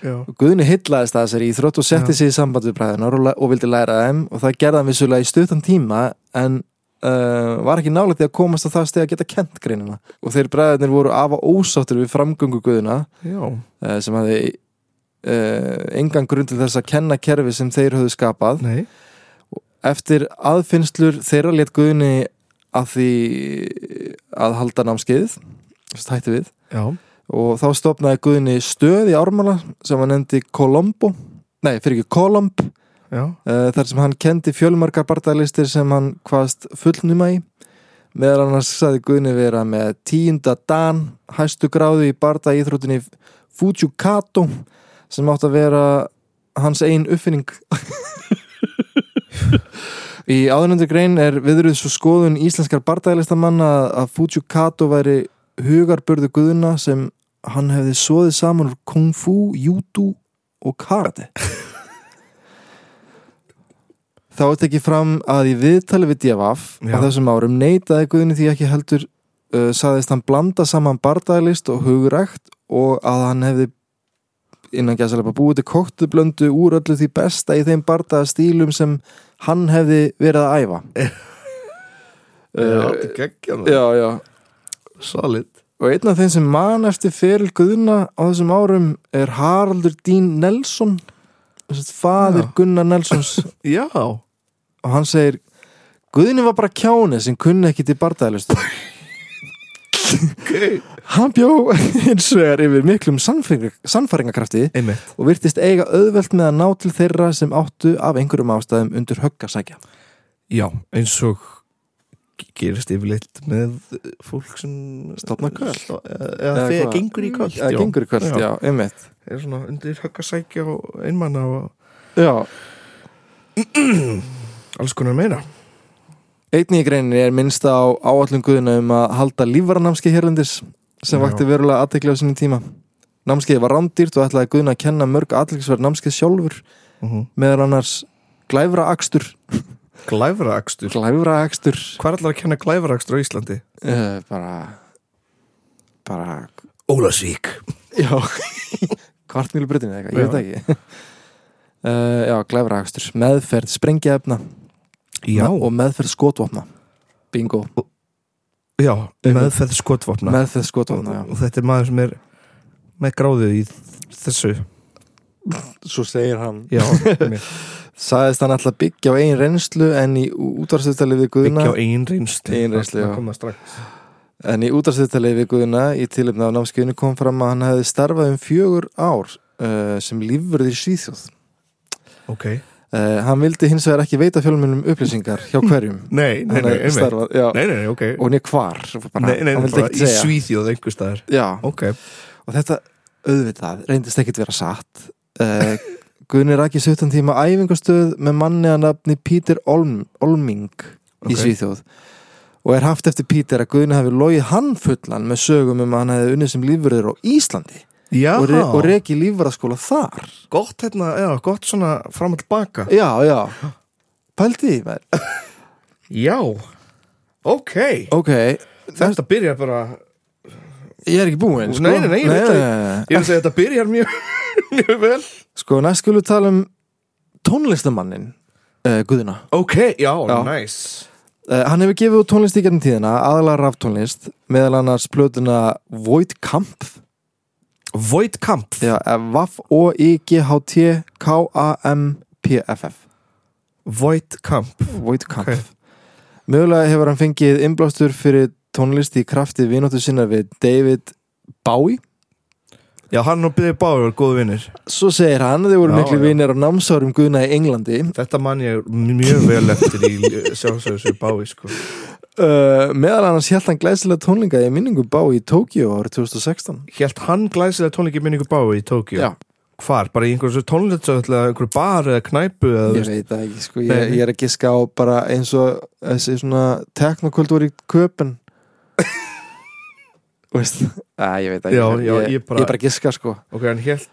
[SPEAKER 1] Já.
[SPEAKER 4] Og Guðni hillaðist að þessari íþrótt og setti sig í samband við bræðunar og, la- og vildi læra þeim og það gerði hann vissulega í stuttan tíma en uh, var ekki nálega því að komast að það stegi að geta kent greinina og þeir bræðunir voru afa ósáttur við framgöngu Guðna
[SPEAKER 1] Já.
[SPEAKER 4] uh, sem hafði uh, engan grunn til þess að kenna kerfi sem þeir höfðu skapað
[SPEAKER 1] Nei.
[SPEAKER 4] eftir aðfinnslur þeirra létt Guðni að því eh, að halda námskeiðið þess að hætti við
[SPEAKER 1] Já.
[SPEAKER 4] og þá stopnaði Guðni stöð í Ármála sem hann nefndi Kolombo nei, fyrir ekki Kolomb
[SPEAKER 1] Já.
[SPEAKER 4] uh, þar sem hann kendi fjölmarkar bardagalistir sem hann hvaðast fullnuma í meðal annars saði Guðni vera með tíunda dan hæstu gráðu í bardagíþrótinni Fujikato sem átt að vera hans einn uppfinning Í áðunundur grein er viðruð svo skoðun íslenskar bardagalistamanna að Fujikato væri hugarbörðu Guðna sem hann hefði svoðið saman úr kung fu, jútu og karate Þá er tekið fram að í viðtali við DFF á
[SPEAKER 1] Já.
[SPEAKER 4] þessum árum neitaði Guðni því ekki heldur uh, saðist hann blanda saman bardagalist og hugrækt og að hann hefði innan gæsalega búið til koktublöndu úr öllu því besta í þeim bardagastílum sem hann hefði verið að æfa
[SPEAKER 1] Já,
[SPEAKER 4] uh,
[SPEAKER 1] þetta er geggjað. maður.
[SPEAKER 4] Já, já
[SPEAKER 1] Solid.
[SPEAKER 4] Og einn af þeim sem man eftir feril Guðna á þessum árum er Haraldur Dín Nelson þessast faðir
[SPEAKER 1] Já.
[SPEAKER 4] Gunnar Nelsons
[SPEAKER 1] Já.
[SPEAKER 4] og hann segir Guðni var bara kjáni sem kunni ekki til bardaðalustu
[SPEAKER 1] Ok.
[SPEAKER 4] Hann bjó hins vegar yfir miklum sannfæringar- sannfæringarkrafti
[SPEAKER 1] Einmitt.
[SPEAKER 4] og virtist eiga auðvelt með að ná til þeirra sem áttu af einhverjum ástæðum undir höggasækja
[SPEAKER 1] Já, eins og gerist yfirleitt með fólk sem
[SPEAKER 4] Stofna köll.
[SPEAKER 1] eða
[SPEAKER 4] Eða
[SPEAKER 1] þegar
[SPEAKER 4] hvað?
[SPEAKER 1] gengur í kvöld
[SPEAKER 4] Eða gengur í kvöld, já, einmitt
[SPEAKER 1] er svona undir höggasækja og einmanna og
[SPEAKER 4] Já,
[SPEAKER 1] alls konar meira
[SPEAKER 4] Einnig í greininni er minnst á áallum guðina um að halda lífvarnamski hérlendis sem
[SPEAKER 1] Já.
[SPEAKER 4] vakti verulega aðtekli á sinni tíma. Námskeið var rándýrt og ætlaði guðina að kenna mörg aðteklisverð námskeið sjálfur
[SPEAKER 1] mm -hmm.
[SPEAKER 4] meðan annars glæfra akstur.
[SPEAKER 1] Glæfraakstur
[SPEAKER 4] Glæfra akstur.
[SPEAKER 1] Hvað er allar að kenna glæfraakstur á Íslandi?
[SPEAKER 4] Uh, bara, bara,
[SPEAKER 1] Ólasvík
[SPEAKER 4] já, kvartmjölubrutinu eða eitthvað, ég veit það ekki. Uh, já, glæfra akstur. Meðferð sprengjaefna
[SPEAKER 1] Já,
[SPEAKER 4] og meðferð skotvopna. Bingo.
[SPEAKER 1] já meðferð skotvopna
[SPEAKER 4] Meðferð
[SPEAKER 1] og,
[SPEAKER 4] skotvopna, já.
[SPEAKER 1] og þetta er maður sem er með gráðu í þessu
[SPEAKER 4] Svo segir hann.
[SPEAKER 1] Já,
[SPEAKER 4] Saðist hann alltaf byggja á eigin reynslu en í útvarsviðtalið við Guðuna
[SPEAKER 1] byggja á einn reynslu
[SPEAKER 4] Eigin reynslu, já.
[SPEAKER 1] Það kom það strax
[SPEAKER 4] en í útvarsviðtalið við Guðuna í tilöfna af námskjöfni kom fram að hann hefði starfað um fjögur ár uh, sem lífverði í Svíþjóð
[SPEAKER 1] Ok
[SPEAKER 4] uh, Hann vildi hins vegar ekki veita fjölmennum upplýsingar hjá hverjum
[SPEAKER 1] Nei, nei,
[SPEAKER 4] hann
[SPEAKER 1] nei,
[SPEAKER 4] hefði
[SPEAKER 1] einmitt
[SPEAKER 4] starfað, já,
[SPEAKER 1] Nei, nei, nei, ok
[SPEAKER 4] og nýr hvar bara,
[SPEAKER 1] Nei, nei,
[SPEAKER 4] hann vildi
[SPEAKER 1] bara
[SPEAKER 4] ekki
[SPEAKER 1] í
[SPEAKER 4] segja
[SPEAKER 1] Svíþjóð einhver staðar
[SPEAKER 4] Já,
[SPEAKER 1] Ok
[SPEAKER 4] og þetta auðvitað reyndist ekkit vera satt uh, Guðni rak í 17 tíma æfingastöð með manni að nafni Pítur Olm, Olming í
[SPEAKER 1] Ok.
[SPEAKER 4] Svíþjóð og er haft eftir Pítur að Guðni hafi logið hann fullan með sögum um að hann hefði unnið sem lífurður á Íslandi
[SPEAKER 1] Já,
[SPEAKER 4] og, re og reki lífverðaskóla þar
[SPEAKER 1] gott hérna, já, gott svona fram og tilbaka
[SPEAKER 4] já, já pældi því maður.
[SPEAKER 1] Já, ok
[SPEAKER 4] ok,
[SPEAKER 1] Þetta byrjar bara
[SPEAKER 4] ég er ekki búinn sko.
[SPEAKER 1] Nei, nei, nei, ég veit það
[SPEAKER 4] nei,
[SPEAKER 1] Ég vil segja þetta byrjar mjög, mjög vel
[SPEAKER 4] nei. sko, næst skulum við tala um tónlistamannin uh, Guðuna
[SPEAKER 1] Ok, já,
[SPEAKER 4] Já.
[SPEAKER 1] nice
[SPEAKER 4] uh, hann hefur gefið út tónlist í gegnum tíðina aðalega raftónlist, meðal annars plötuna Void Kamp
[SPEAKER 1] Void Kamp
[SPEAKER 4] já, V-O-I-G-H-T-K-A-M-P-F-F
[SPEAKER 1] Void Kamp
[SPEAKER 4] Void Kamp Mögulega hefur hann fengið innblástur fyrir tónlist í krafti vinóttu sinna við David Bowie.
[SPEAKER 1] Já, hann og Byrði Báður var góðu vinnir
[SPEAKER 4] Svo segir hann, þeir voru
[SPEAKER 1] Já,
[SPEAKER 4] miklu
[SPEAKER 1] já.
[SPEAKER 4] vinnir á námsárum Guðna í Englandi.
[SPEAKER 1] Þetta mann ég mjög vel eftir í sjálfsögðu Báði, sko
[SPEAKER 4] Uh, meðal annars hjælt hann glæsilega tónlinga í minningu Bowie í Tokyo árið 2016.
[SPEAKER 1] Hjælt hann glæsilega tónleiki minningu Báði í Tókíu
[SPEAKER 4] Já.
[SPEAKER 1] Hvar, bara í einhverjum tónleitsöðl eða einhverjum bar eða knæpu eða,
[SPEAKER 4] Ég
[SPEAKER 1] þú veist.
[SPEAKER 4] veit það ekki, sko,
[SPEAKER 1] Nei,
[SPEAKER 4] ég,
[SPEAKER 1] nei.
[SPEAKER 4] ég er að giska á bara eins og þessi svona teknokvöldur í köpen. Veist, að, ég veit það ekki,
[SPEAKER 1] Já, já,
[SPEAKER 4] ég,
[SPEAKER 1] ég
[SPEAKER 4] ég
[SPEAKER 1] bara-
[SPEAKER 4] er bara að giska, sko.
[SPEAKER 1] Ok, hann hjælt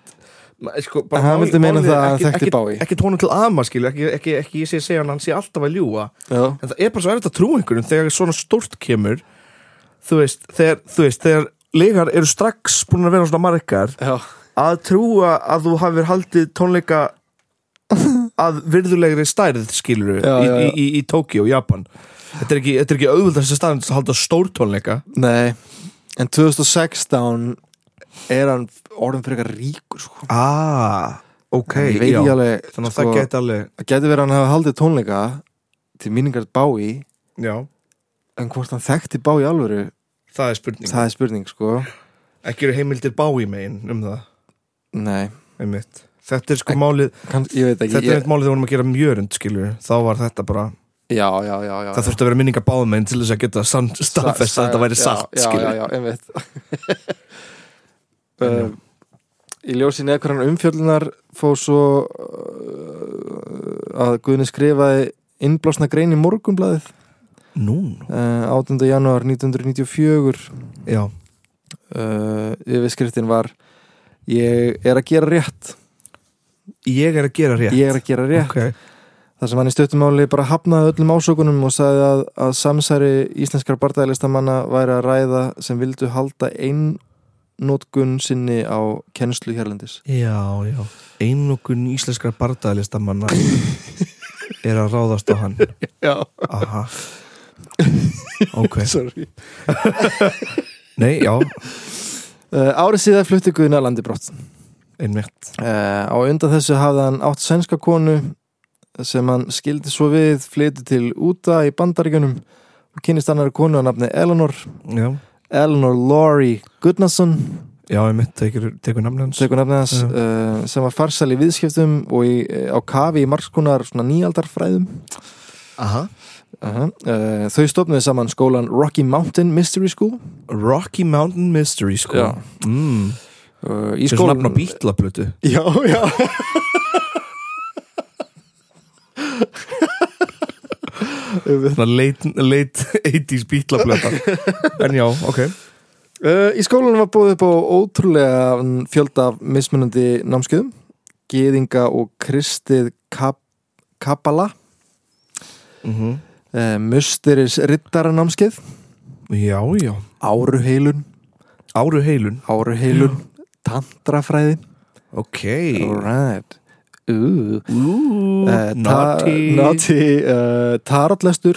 [SPEAKER 1] Ma- sko, bara
[SPEAKER 4] Hann
[SPEAKER 1] mál-
[SPEAKER 4] vildi meina
[SPEAKER 1] málið er
[SPEAKER 4] það að
[SPEAKER 1] ekki-
[SPEAKER 4] hann þekkti
[SPEAKER 1] ekki-
[SPEAKER 4] Bowie.
[SPEAKER 1] Ekki tónu til aðma, skilju, ekki, ekki, ekki ég sé segja hann, hann sé alltaf að ljúga
[SPEAKER 4] Já.
[SPEAKER 1] en það er bara svo erfitt að trú einhverjum þegar svona stórt kemur þú veist, þegar, þú veist, þegar leikar eru strax búin að vera svona margar
[SPEAKER 4] Já.
[SPEAKER 1] að trúa að þú hafir haldið tónleika að virðulegri stærð
[SPEAKER 4] Já,
[SPEAKER 1] skilur í,
[SPEAKER 4] já, já.
[SPEAKER 1] í, í, í Tókíó, Japan þetta er ekki, þetta er ekki auðvöldast að staðan að halda stór tónleika
[SPEAKER 4] Nei, en 2016 er hann orðin fyrir eitthvað ríkur sko.
[SPEAKER 1] ah, ok,
[SPEAKER 4] ég veit
[SPEAKER 1] já
[SPEAKER 4] ekki alveg
[SPEAKER 1] þannig
[SPEAKER 4] sko,
[SPEAKER 1] að það geti alveg
[SPEAKER 4] það geti verið að hann hafa haldið tónleika til míningar Bái
[SPEAKER 1] já,
[SPEAKER 4] en hvort hann þekkti Bái alvöru
[SPEAKER 1] það er spurning
[SPEAKER 4] það er spurning sko
[SPEAKER 1] ekki eru heimildir bá í megin um það
[SPEAKER 4] Nei,
[SPEAKER 1] einmitt. þetta er sko málið
[SPEAKER 4] kann, ég veit ekki
[SPEAKER 1] þetta er
[SPEAKER 4] ég,
[SPEAKER 1] eitt málið þegar við vorum að gera mjörund skilur þá var þetta bara
[SPEAKER 4] Já, já, já, já
[SPEAKER 1] það þurfti að vera minningar báðmenn til þess að geta sann- staðfest að þetta væri satt
[SPEAKER 4] Já, já,
[SPEAKER 1] skilur.
[SPEAKER 4] já, einmitt um, Í ljósi neðkvæðan umfjöldunar fór svo uh, að Guðni skrifaði innblásna grein í morgunblæðið
[SPEAKER 1] nú,
[SPEAKER 4] uh, 8. januar 1994
[SPEAKER 1] já,
[SPEAKER 4] uh, yfirskriftin var ég er að gera rétt
[SPEAKER 1] ég er að gera rétt
[SPEAKER 4] ég er að gera rétt
[SPEAKER 1] Ok.
[SPEAKER 4] þar sem hann í stöttumáli bara hafnaði öllum ásökunum og sagði að, að samsæri íslenskar bardagalistamanna væri að ræða sem vildu halda einnótkun sinni á kennslu hérlendis
[SPEAKER 1] já, já, einokun íslenskra bardaðalistamanna er að ráðast á hann
[SPEAKER 4] já,
[SPEAKER 1] aha ok,
[SPEAKER 4] sorry
[SPEAKER 1] nei, já,
[SPEAKER 4] uh, árið síðan flutti Guðna landi brott
[SPEAKER 1] einmitt
[SPEAKER 4] Uh, á undan þessu hafði hann átt sænska konu sem hann skildi svo við flytti til úta í bandaríkunum og kynist annari konu að nafni Eleanor
[SPEAKER 1] já,
[SPEAKER 4] Eleanor Laurie Goodnasson
[SPEAKER 1] já einmitt, tekur, tekur namni hans
[SPEAKER 4] tekur nafni hans uh, sem var farsal í viðskiptum og í, eh, á kafi í margskonar svona nýaldarfræðum uh
[SPEAKER 1] aha
[SPEAKER 4] þau stofnuði saman skólan Rocky Mountain Mystery School
[SPEAKER 1] Rocky Mountain Mystery School
[SPEAKER 4] Já.
[SPEAKER 1] mm.
[SPEAKER 4] uh, í
[SPEAKER 1] Þessu
[SPEAKER 4] skólan
[SPEAKER 1] nafn á bítlaplötu
[SPEAKER 4] já, já
[SPEAKER 1] Svona late, late 80s bítlaplöta En já, ok
[SPEAKER 4] Uh, í skólanum var búið upp á ótrúlega fjölda af mismunandi námskeiðum geðinga og kristið kap kapala
[SPEAKER 1] mm
[SPEAKER 4] uh, musteris rittara námskeið
[SPEAKER 1] Já, já
[SPEAKER 4] áruheilun
[SPEAKER 1] Áru heilun
[SPEAKER 4] áruheilun, tantrafræði
[SPEAKER 1] Ok
[SPEAKER 4] alright uh,
[SPEAKER 1] Ooh,
[SPEAKER 4] uh,
[SPEAKER 1] Eh, Naughty
[SPEAKER 4] naughty uh, tarotlestur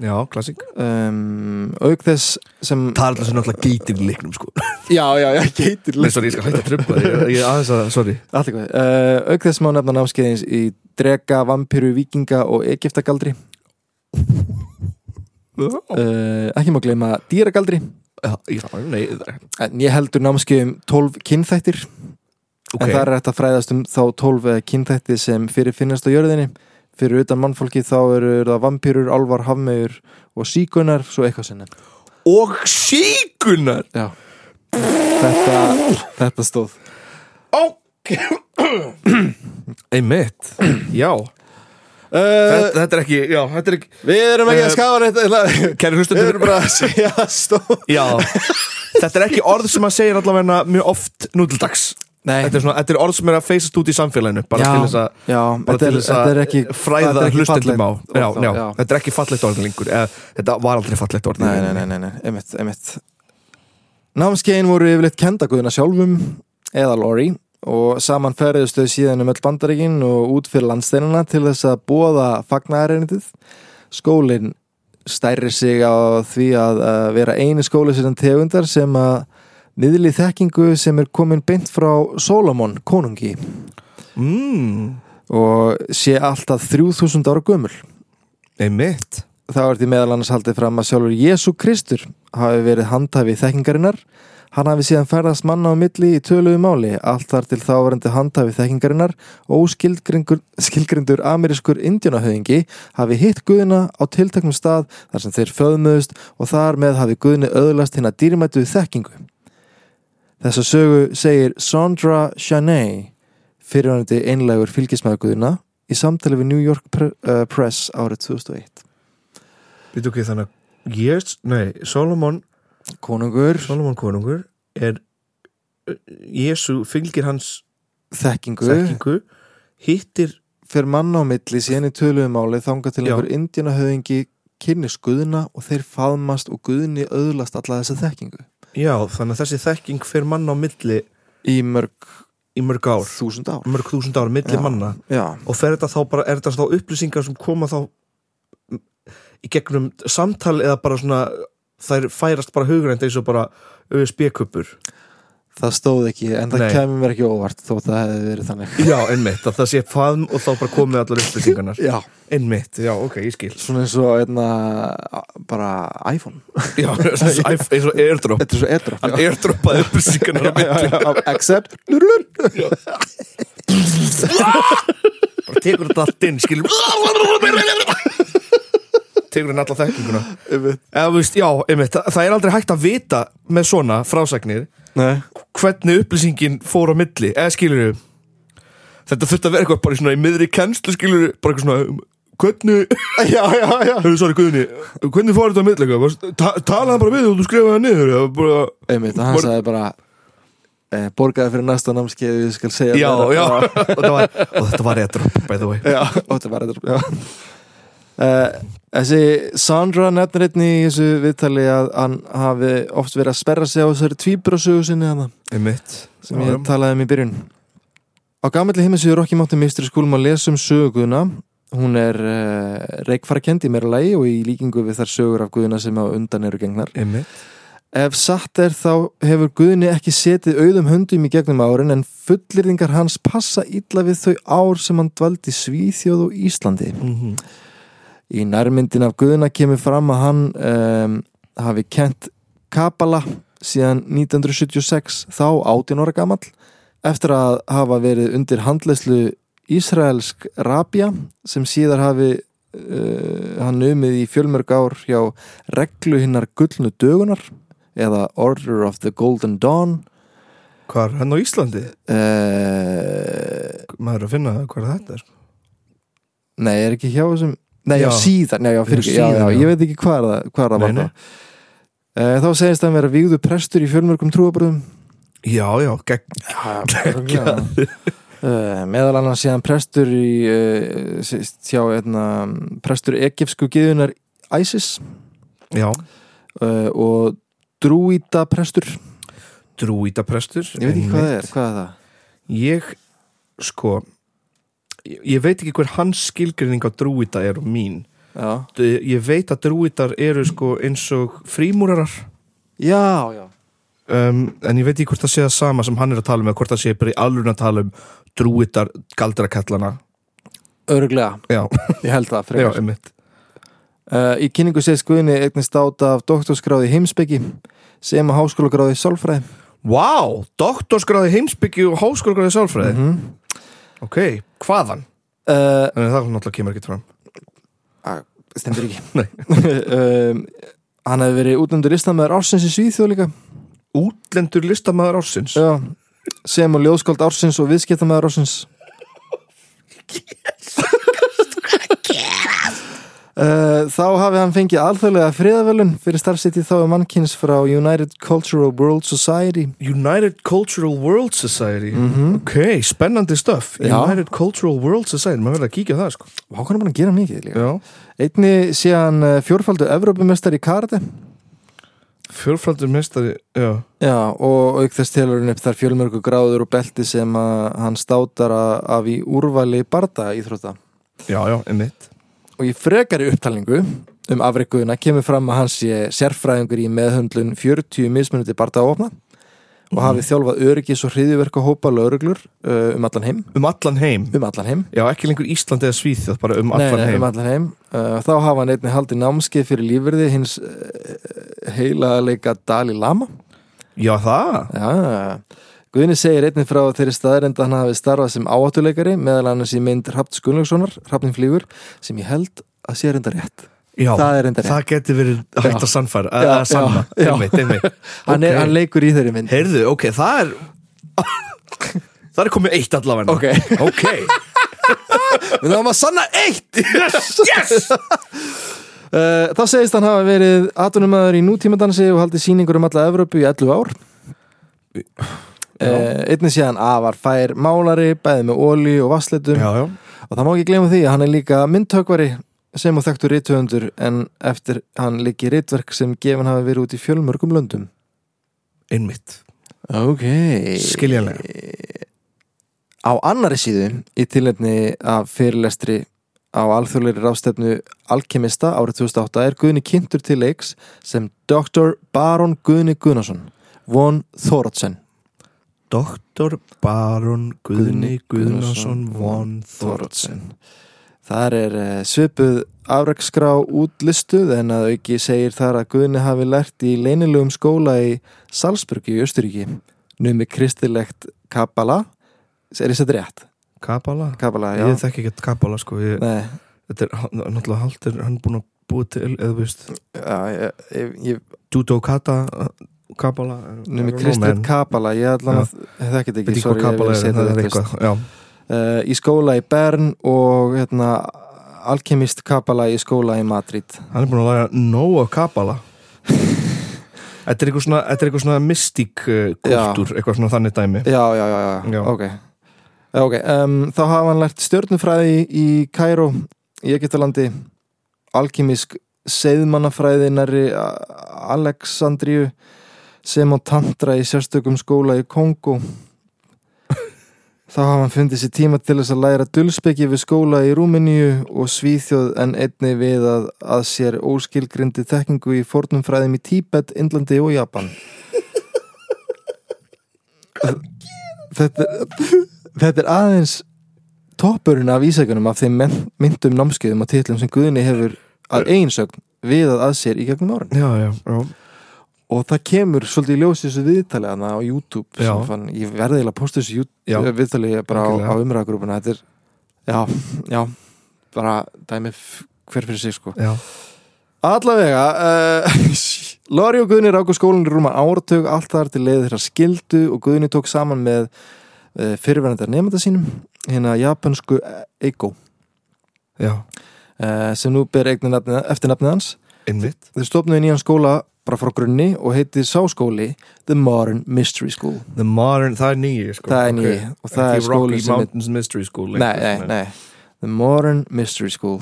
[SPEAKER 1] Já, klassik
[SPEAKER 4] um, auk þess sem
[SPEAKER 1] Það er alltaf sem náttúrulega geitir í leiknum sko
[SPEAKER 4] já, já, já, geitir
[SPEAKER 1] Nei, sorry, ég skal hætta að tröfla Ég er aðeins að, sorry
[SPEAKER 4] Allt í góðu. Uh, auk þess má nefna námskeiðins í drega, vampiru, vikinga og egyptagaldri. Uh, ekki má gleyma dýragaldri.
[SPEAKER 1] Já, já, nei það-
[SPEAKER 4] En ég heldur námskeiðum 12 kynþættir.
[SPEAKER 1] Ok,
[SPEAKER 4] En það er hægt að fræðast um þá 12 kynþætti sem fyrir finnast á jörðinni. Fyrir utan mannfólki þá eru það vampirur, álvar, hafmegur og síkunar, svo eitthvað sinni.
[SPEAKER 1] og síkunar
[SPEAKER 4] Já. Þetta, þetta stóð.
[SPEAKER 1] Ok Einmitt Já
[SPEAKER 4] Uh, Eh.
[SPEAKER 1] þetta, þetta er ekki, já, þetta er ekki
[SPEAKER 4] við erum
[SPEAKER 1] ekki að
[SPEAKER 4] skafa Uh, þetta.
[SPEAKER 1] Kæri hlustendur
[SPEAKER 4] bara að segja stóð.
[SPEAKER 1] Já, Þetta er ekki orð sem maður segir allavega mjög oft nútildags
[SPEAKER 4] Nei,
[SPEAKER 1] þetta er, svona, þetta er orð sem er að feysast út í samfélaginu bara
[SPEAKER 4] Já.
[SPEAKER 1] til þess að
[SPEAKER 4] já,
[SPEAKER 1] bara
[SPEAKER 4] þetta
[SPEAKER 1] til
[SPEAKER 4] er,
[SPEAKER 1] þess
[SPEAKER 4] þetta er
[SPEAKER 1] að
[SPEAKER 4] ekki þetta
[SPEAKER 1] fræða
[SPEAKER 4] er ekki
[SPEAKER 1] hlustendum á
[SPEAKER 4] fallegt
[SPEAKER 1] já,
[SPEAKER 4] orð þá,
[SPEAKER 1] já, þetta er ekki fallegt orð lengur eða, þetta var aldrei fallegt orð
[SPEAKER 4] Nei, nei, nei, nei, nei, einmitt, einmitt. Námskeiðin voru yfirleitt kendaguðina sjálfum eða Lori og saman ferðust þau síðan um öll bandaríkin og út fyrir landsteinana til þess að bóða fagnaðareinitið. Skólinn stærri sig á því að, að vera eini skóli sinna tegundar sem að miðli þekkingu sem er komin beint frá Solomon, konungi
[SPEAKER 1] mm,
[SPEAKER 4] og sé alltaf 3000 ára gömul.
[SPEAKER 1] einmitt
[SPEAKER 4] Þá er því meðal annars haldið fram að sjálfur Jésu Kristur hafi verið handhafi þekkingarinnar. Hann hafi síðan ferðast manna á milli í töluðu máli, allt þar til þáverandi handhafi þekkingarinnar og skilgrindur amerískur indjónahöðingi hafi hitt guðina á tiltaknum stað þar sem þeir föðmuðust og þar með hafi guðni öðlast hinn að dýrmætu þekkingu. Þessa sögu segir Sandra Chaney, fyrirvænandi einlægur fylgismæður guðina, í samtali við New York Pre- eh, Press árið 2001.
[SPEAKER 1] við tókum þannig að yes, nei, Solomon,
[SPEAKER 4] Konungur,
[SPEAKER 1] Solomon konungur er Jésu fylgir hans
[SPEAKER 4] þekkingu,
[SPEAKER 1] þekkingu hittir
[SPEAKER 4] fyrir mann á milli síðan í töluðum máli þanga til
[SPEAKER 1] Já.
[SPEAKER 4] einhver indjana höfingi kynni skuðuna og þeir faðmast og guðni öðlast alla þessa þekkingu
[SPEAKER 1] já, þannig að þessi þekking fyrir mann á milli
[SPEAKER 4] í mörg
[SPEAKER 1] í mörg ár,
[SPEAKER 4] þúsund ár
[SPEAKER 1] mörg þúsund ár milli
[SPEAKER 4] Já.
[SPEAKER 1] manna
[SPEAKER 4] Já,
[SPEAKER 1] og fer þetta þá bara, er þetta þá upplýsingar sem koma þá mm, í gegnum samtal eða bara svona þær færast bara hugrænt eins og bara USB-kuppur
[SPEAKER 4] það stóð ekki en það
[SPEAKER 1] Nei.
[SPEAKER 4] kemur mér ekki óvart þótt að það hefði verið þannig
[SPEAKER 1] Já, einmitt, að það sé faðm og þá bara komið allar upplýsingarnar
[SPEAKER 4] Já,
[SPEAKER 1] Einmitt, já, ok, ég skil
[SPEAKER 4] svona eins og einna, bara iPhone
[SPEAKER 1] Já, eins og iPhone- eins og airdrop
[SPEAKER 4] Þetta er svo edru
[SPEAKER 1] Hann airdropaði upplýsingarnar á milli
[SPEAKER 4] Accept
[SPEAKER 1] Bara tekur þetta allt inn, skilur Tekur hann alla þekkinguna Eða, þú veist, já, einmitt, það- það er aldrei hægt að vita með svona frásagnir
[SPEAKER 4] Nei,
[SPEAKER 1] hvernig upplýsingin fór á milli eða skilur við þetta þurfti að vera eitthvað bara í svona í miðri kennslu skilur við bara eitthvað svona um, hvernig já, já, já hefur svarið Guðni hvernig fór þetta á milli eitthvað Varst- ta talaði bara við og þú skrifaði það niður eða bara
[SPEAKER 4] einmitt, og hann
[SPEAKER 1] Bor-
[SPEAKER 4] sagði bara e, borgaði fyrir næsta námskeið ég skal segja
[SPEAKER 1] já,
[SPEAKER 4] þér að-
[SPEAKER 1] já og þetta var og þetta var retrop by the way
[SPEAKER 4] Já, og þetta var þetta uh, Þessi Sandra nefnir einni í þessu viðtali að hann hafi oft verið að sperra sig á þessari tvíbrásögu sinni hana
[SPEAKER 1] einmitt
[SPEAKER 4] sem ég talaði um í byrjun Á gamalli heimasíðu Rocky Mountain Mystery School má lesa um söguna Hún er uh, reikfarakend í meira lagi og í líkingu við þar sögur af guðuna sem á undan eru gengnar
[SPEAKER 1] einmitt
[SPEAKER 4] Ef satt er þá hefur Guðni ekki setið auðum höndum í gegnum árin en fullirðingar hans passa illa við þau ár sem hann dvaldi í Svíþjóð og Íslandi.
[SPEAKER 1] Mhm.
[SPEAKER 4] Í nærmyndin af Guðna kemur fram að hann um, hafi kent Kabala síðan 1976 þá 18 ára gamall eftir að hafa verið undir handleyslu Ísraelsk rabja sem síðar hafi uh, hann umið í fjölmörg ár hjá reglu hinnar gullnu dögunar eða Order of the Golden Dawn
[SPEAKER 1] hvað er hann á Íslandi
[SPEAKER 4] uh,
[SPEAKER 1] maður er að finna hvað er þetta sko.
[SPEAKER 4] Nei, er ekki hjá þessum Nei, já,
[SPEAKER 1] Já.
[SPEAKER 4] síðar, nei, já, fyrir,
[SPEAKER 1] Já,
[SPEAKER 4] já, já,
[SPEAKER 1] síðar, já.
[SPEAKER 4] ég veit ekki hvað er það, hvað er það
[SPEAKER 1] Nei,
[SPEAKER 4] var það Eh, Þá segist hann vera vígðu prestur í fjölmörgum trúabröðum
[SPEAKER 1] já, já, gegn
[SPEAKER 4] Já, Eh, meðal annars síðan prestur í uh, hjá, einna, hérna, prestur egipsku gyðunar Isis
[SPEAKER 1] já
[SPEAKER 4] uh, og drúíta prestur ég
[SPEAKER 1] drúítaprestur
[SPEAKER 4] veit ekki hvað það er, hvað er það?
[SPEAKER 1] Ég, sko ég, ég veit ekki hver hans skilgrinning á drúita er og mín
[SPEAKER 4] Já,
[SPEAKER 1] D- ég veit að drúitar eru sko eins og frímúrarar
[SPEAKER 4] já, já
[SPEAKER 1] um, en ég veit ekki hvort það sé það sama sem hann er að tala um eða hvort það sé bara í alveg að tala um drúitar galdrakallana
[SPEAKER 4] Örglega,
[SPEAKER 1] já,
[SPEAKER 4] ég held það
[SPEAKER 1] já,
[SPEAKER 4] frekar
[SPEAKER 1] einmitt
[SPEAKER 4] Uh, í kynningu segist Guðni eignist áta af doktorsgráði í heimspeki sem að háskólagráði í sálfræði
[SPEAKER 1] Vá, doktorsgráði heimsbyggju og háskólagráði í sálfræði
[SPEAKER 4] -hmm.
[SPEAKER 1] ok, hvaðan?
[SPEAKER 4] uh,
[SPEAKER 1] En það náttúrulega kemur ekkert fram
[SPEAKER 4] stendur ekki
[SPEAKER 1] Nei.
[SPEAKER 4] um, Hann hefði verið útlendur listamæður ársins í Svíþjóð líka
[SPEAKER 1] Útlendur listamaður ársins
[SPEAKER 4] Já, sem og ljóðskáld ársins og viðskiptamæður ársins Uh, þá hafi hann fengið alþjóðlega friðavölun fyrir starfsitið þá er mannkins frá United Cultural World Society
[SPEAKER 1] United Cultural World Society Ok, spennandi stuff
[SPEAKER 4] Mhm. Já.
[SPEAKER 1] United Cultural World Society, maður verður að kíkja á það sko
[SPEAKER 4] Vá, hann er búin að gera mikið líka
[SPEAKER 1] Já,
[SPEAKER 4] Einni sé hann uh, fjórfaldu Evrópumestari í karate
[SPEAKER 1] fjórfaldur mestari Já,
[SPEAKER 4] Já, og auk þess telur hann upp þar fjölmörgu gráður og belti sem að hann státar a- af í úrvali barda íþrótta
[SPEAKER 1] já, já einmitt
[SPEAKER 4] og í frekari upptalningu um afreikuðuna kemur fram að hann sé sérfræðingur í meðhöndlun 40 mismunandi bardaofna og
[SPEAKER 1] Mhm.
[SPEAKER 4] hafi þjálfað öryggis og hriðiverka hópa lögreglur uh, um allan heim
[SPEAKER 1] Um allan heim
[SPEAKER 4] um allan heim,
[SPEAKER 1] Já, ekki lengur Ísland eða Svíþjóð, bara um allan
[SPEAKER 4] nei, nei,
[SPEAKER 1] heim
[SPEAKER 4] um allan heim. Uh, þá hafa hann einnig haldið námskeið fyrir lífverði hins uh, heilaðleika Dalí Lama
[SPEAKER 1] Já, það
[SPEAKER 4] Já, Guðni segir einnig frá þeirri staðarind að hann hafi starfað sem áhættuleikari meðal annars í mynd Hrafn Skunlökssonar, Hrafnin flýgur sem ég held að sé reynda rétt
[SPEAKER 1] Já,
[SPEAKER 4] Það er reyndar rétt.
[SPEAKER 1] það geti verið hægt að
[SPEAKER 4] Já,
[SPEAKER 1] sannfæra að- að
[SPEAKER 4] já,
[SPEAKER 1] sanna,
[SPEAKER 4] já.
[SPEAKER 1] einmitt, einmitt
[SPEAKER 4] hann,
[SPEAKER 1] Ok.
[SPEAKER 4] er, hann leikur í þeirri mynd
[SPEAKER 1] Heyrðu, ok, það er Það er komið eitt allavega
[SPEAKER 4] Ok.
[SPEAKER 1] ok
[SPEAKER 4] Við þáum að sanna eitt Yes, yes Þá segist hann hafa verið atunumæður í nútímadansi og haldið síningur um alla Evrópu í 11 ár uh, Einnig sé hann afar fær málari bæði með óli og vassleitum
[SPEAKER 1] Já, já
[SPEAKER 4] og það má ekki gleyma því að hann er líka myndtökvari sem og þekktur rithöfundur en eftir hann líki ritverk sem gefin hafi verið út í fjölmörgum löndum
[SPEAKER 1] Einmitt,
[SPEAKER 4] Ok
[SPEAKER 1] skiljanlega
[SPEAKER 4] Á annari síðu í tilnefni af fyrirlestri á alþjóðleiri ráðstefnu Alkemista árið 2008 er Guðni kynntur til leiks sem Dr. Baron Guðni Guðnason von Thorodsen
[SPEAKER 1] Doktor Baron Guðni Guðnason von Thorodsen
[SPEAKER 4] Thorodsen Þar er eh, svipuð afrækskrá útlistuð en að auki segir þar að Guðni hafi lært í leynilegum skóla í Salzburg í Östuríki numi kristilegt Kabbala er þetta rétt?
[SPEAKER 1] Kabala?
[SPEAKER 4] Kabbala, já
[SPEAKER 1] Ég þekki ekki Kabala sko ég,
[SPEAKER 4] Nei,
[SPEAKER 1] Þetta er hann- náttúrulega haldur hann er búinn að búa til eða þú veist
[SPEAKER 4] já, ég, ég, ég
[SPEAKER 1] Judo Kata Kabala
[SPEAKER 4] numi kristilegt Kabbala ég allan að þekki þetta ekki
[SPEAKER 1] Þetta er hvað
[SPEAKER 4] sorry, ég
[SPEAKER 1] Kabala
[SPEAKER 4] vil
[SPEAKER 1] er,
[SPEAKER 4] setja
[SPEAKER 1] það er
[SPEAKER 4] þetta fyrst.
[SPEAKER 1] eitthvað Já,
[SPEAKER 4] Eh, í skóla í Bern og hérna, alkemist Kabbala í skóla í Madrid
[SPEAKER 1] hann er búinn að læra nóa Kabala Þetta er eitthvað svona, þetta er eitthvað svona mystík uh, kultúr, eitthvað svona þannig dæmi
[SPEAKER 4] já, já, já, já.
[SPEAKER 1] Já.
[SPEAKER 4] ok, Já, okay. Um, þá hafa hann lært stjörnufræði í Kæró í Egyptalandi alkemisk seiðmannafræðinari Aleksandríu sem á tantra í sérstökum skóla í Kongo þá hafa hann fundið sér tíma til þess að læra dulspeki við skóla í Rúmeníu og Svíþjóð en einnig við að, að sér óskilgrindi þekkingu í fornum fræðum í Tíbet, Indlandi og Japan þetta, þetta er aðeins toppurinn af ísækunum af þeim men- myndum námskeiðum og titlum sem Guðni hefur að einsögn við að að sér í gegnum árin
[SPEAKER 1] Já, já, já
[SPEAKER 4] og það kemur svolítið í ljós í þessu viðtali hana á YouTube
[SPEAKER 1] Já.
[SPEAKER 4] sem fann, ég verði eiginlega að posta þessu
[SPEAKER 1] Já.
[SPEAKER 4] YouTube, eh, viðtali bara á,
[SPEAKER 1] Algjörlega.
[SPEAKER 4] á umræðagrúpuna þetta er, já, já bara dæmi f- hver fyrir sig sko
[SPEAKER 1] Já,
[SPEAKER 4] Allavega uh, Lori og Guðni ráku skólan í rúma áratug allt þar til leiði þeirra skildu og Guðni tók saman með uh, fyrirverndar nefnda sínum hérna japansku Eiko
[SPEAKER 1] já,
[SPEAKER 4] uh, sem nú ber eigni nafni, eftir nafnið hans
[SPEAKER 1] einmitt
[SPEAKER 4] Þeir stofnuði nýjan skóla bara frá grunni og heitið sá skóli The Modern Mystery School
[SPEAKER 1] The Modern, það er nýji sko
[SPEAKER 4] Það er
[SPEAKER 1] ok.
[SPEAKER 4] nýji og það er
[SPEAKER 1] Ekki
[SPEAKER 4] skóli
[SPEAKER 1] Rocky
[SPEAKER 4] sem er-
[SPEAKER 1] Mountains Mystery School
[SPEAKER 4] Nei, nei, nei The Modern Mystery School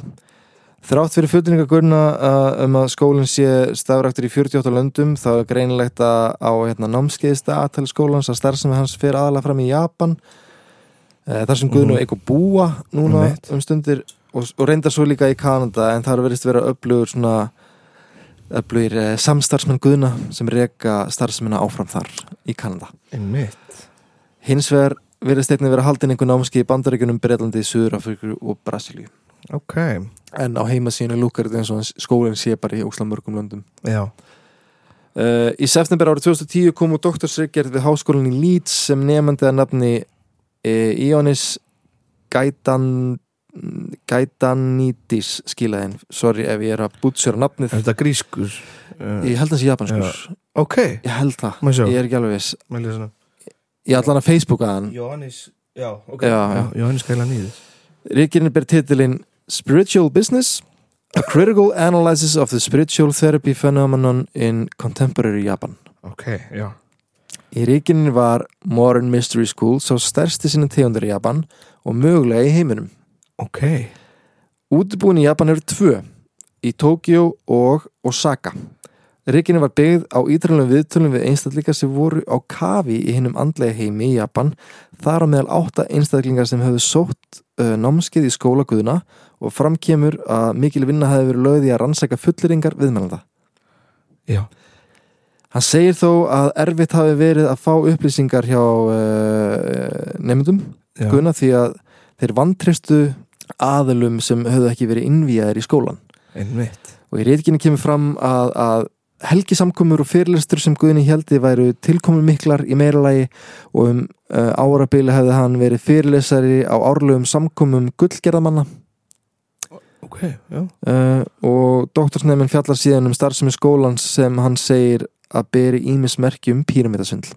[SPEAKER 4] Þrátt fyrir fullningagurna uh, um að skólinn sé stafræktur í 48 löndum þá er greinilegt að á hérna, námskeiðista aðtali skólans að starfsemi hans fer aðalega fram í Japan uh, þar sem Guðn og Eiko búa núna
[SPEAKER 1] Mhm. Einmitt.
[SPEAKER 4] um stundir og, og reyndar svo líka í Kanada en þar verðist vera öflugur svona öflugir uh, samstarfsmenn Guðna sem reka starfsemina áfram þar í Kanada
[SPEAKER 1] Einmitt
[SPEAKER 4] Hins vegar verðist einnig vera haldin einhver námski í Bandaríkunum, Breitlandi, Suðurafriku og Brasilíu.
[SPEAKER 1] Ok,
[SPEAKER 4] En á heimasínu lúkar þetta eins og hans skólinn sé bara í ósla mörgum löndum.
[SPEAKER 1] já
[SPEAKER 4] Uh, í september árið 2010 kom úr doktorsreikjert við háskólinni í Leeds sem nefandi að nafni uh, Ionis Gaitan, Gaitanitis skilaðin. Sorry ef ég er að bútsjöra nafnið.
[SPEAKER 1] Er þetta grískur? Uh,
[SPEAKER 4] Ég held hans í japanskur.
[SPEAKER 1] ok,
[SPEAKER 4] Ég held það.
[SPEAKER 1] maður sjá
[SPEAKER 4] Ég er ekki alveg viss.
[SPEAKER 1] Mælið svona
[SPEAKER 4] Ég ætla hann að Facebooka hann.
[SPEAKER 1] Jóhannes, já, ok
[SPEAKER 4] Já, já.
[SPEAKER 1] Jóhannes Gæla nýðis
[SPEAKER 4] Ríkirinn ber titilinn Spiritual Business A Critical Analysis of the Spiritual Therapy Phenomenon in Contemporary Japan
[SPEAKER 1] Ok, já
[SPEAKER 4] Í ríkinni var Modern Mystery School sá stærsti sinni tegundar í Japan og mögulega í heiminum.
[SPEAKER 1] Ok
[SPEAKER 4] Útibúin í Japan eru tvö, í Tokyo og Osaka. Ríkinni var byggð á ítrælum viðtölum við einstaklingar sem voru á kafi í hinnum andlega heimi í Japan, þar á meðal átta einstaklingar sem höfðu sótt uh, námskeið í skólaguðuna og framkemur að mikil vinna hefði verið lögði að rannsaka fulleringar viðmennanda.
[SPEAKER 1] Já
[SPEAKER 4] Hann segir þó að erfitt hafi verið að fá upplýsingar hjá uh, nefndum
[SPEAKER 1] Já.
[SPEAKER 4] Gunna því að þeir vantristu aðalum sem höfðu ekki verið innvíjaðir í skólan
[SPEAKER 1] Einmitt
[SPEAKER 4] og í reytkinni kemur fram að, að helgisamkomur og fyrirlestur sem Guðni heldi væru tilkomur miklar í meira lagi og um uh, árabili hefði hann verið fyrirlesari á árlegum samkomum gullgerðamanna
[SPEAKER 1] Ok, já
[SPEAKER 4] Uh, og doktorsnefnin fjallar síðan um starfsemi skólans sem hann segir að beri ímismerki um píramidasvindl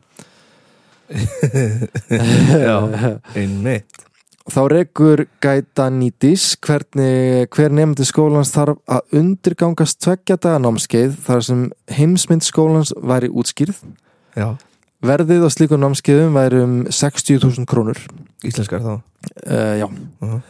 [SPEAKER 1] Já. Einmitt
[SPEAKER 4] þá rekur Gaitanidis hvernig hver nefndi skólans þarf að undirgangast tveggja daga námskeið þar sem heimsmynd skólans væri útskýrð
[SPEAKER 1] Já
[SPEAKER 4] verðið á slíkum námskeiðum væri um 60.000 krónur
[SPEAKER 1] Íslenskar þá
[SPEAKER 4] uh, já
[SPEAKER 1] Mhm.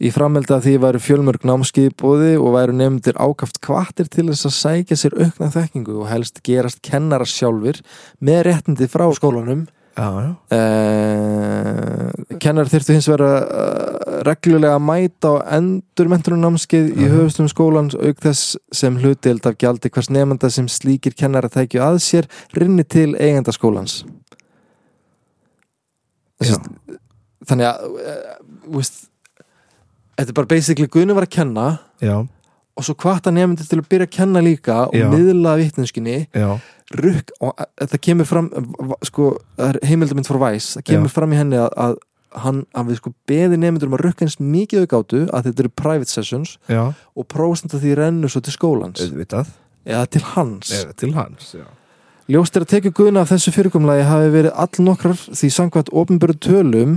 [SPEAKER 4] Í framheld að því væru fjölmörg námskeið í bóði og væru nefndir ákaft kvartir til þess að sækja sér aukna þekkingu og helst gerast kennara sjálfir með réttindi frá skólanum
[SPEAKER 1] Já, já
[SPEAKER 4] uh, Kennar þyrftu hins vera uh, reglulega að mæta á endurmentunum námskeið í
[SPEAKER 1] Mhm.
[SPEAKER 4] höfustum skólans auk þess sem hlutild af gjaldi hvers nefnda sem slíkir kennara tækju að sér rinni til eigenda skólans Þessi, þannig að uh, veist, þetta er bara basically Guðni var að kenna
[SPEAKER 1] Já,
[SPEAKER 4] og svo hvata nefndir til að byrja að kenna líka og
[SPEAKER 1] Já.
[SPEAKER 4] miðla vitnenskinni
[SPEAKER 1] já
[SPEAKER 4] rukk og að- það kemur fram v- sko, það er heimildamind for Vice það kemur
[SPEAKER 1] Já.
[SPEAKER 4] fram í henni að, að hann hafi sko beði nefndur um að rukka eins mikið aukátu að þetta eru private sessions
[SPEAKER 1] Já
[SPEAKER 4] og prófstund að því rennur svo til skólans
[SPEAKER 1] Auðvitað
[SPEAKER 4] eða til hans
[SPEAKER 1] Eða til hans, já
[SPEAKER 4] Ljóst er að tekið guðna af þessu fyrirkomlagi hafi verið all nokkrar því samkvæmt ofinböru tölum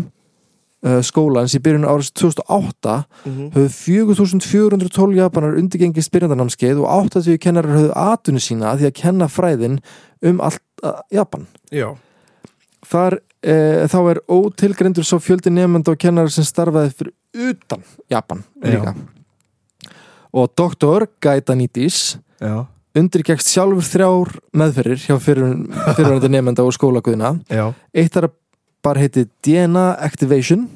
[SPEAKER 4] uh, skólans í byrjun áris 2008
[SPEAKER 1] Mhm.
[SPEAKER 4] höfðu 4412 japanar undirgengist byrjandanámskeið og 80 kennarar höfðu atvinni sína að því að kenna fræðin um allt uh, Japan.
[SPEAKER 1] Já
[SPEAKER 4] Þar, e, þá er ótilgrendur svo fjöldi nefnda og kennarar sem starfaði fyrir utan Japan líka. Og doktor Gaitanitis
[SPEAKER 1] Já
[SPEAKER 4] undirgekst sjálfur þrjár meðferðir hjá fyrir, fyrirvændi nefnda og skólaguðina.
[SPEAKER 1] Já
[SPEAKER 4] Eitt er að bara heiti DNA Activation.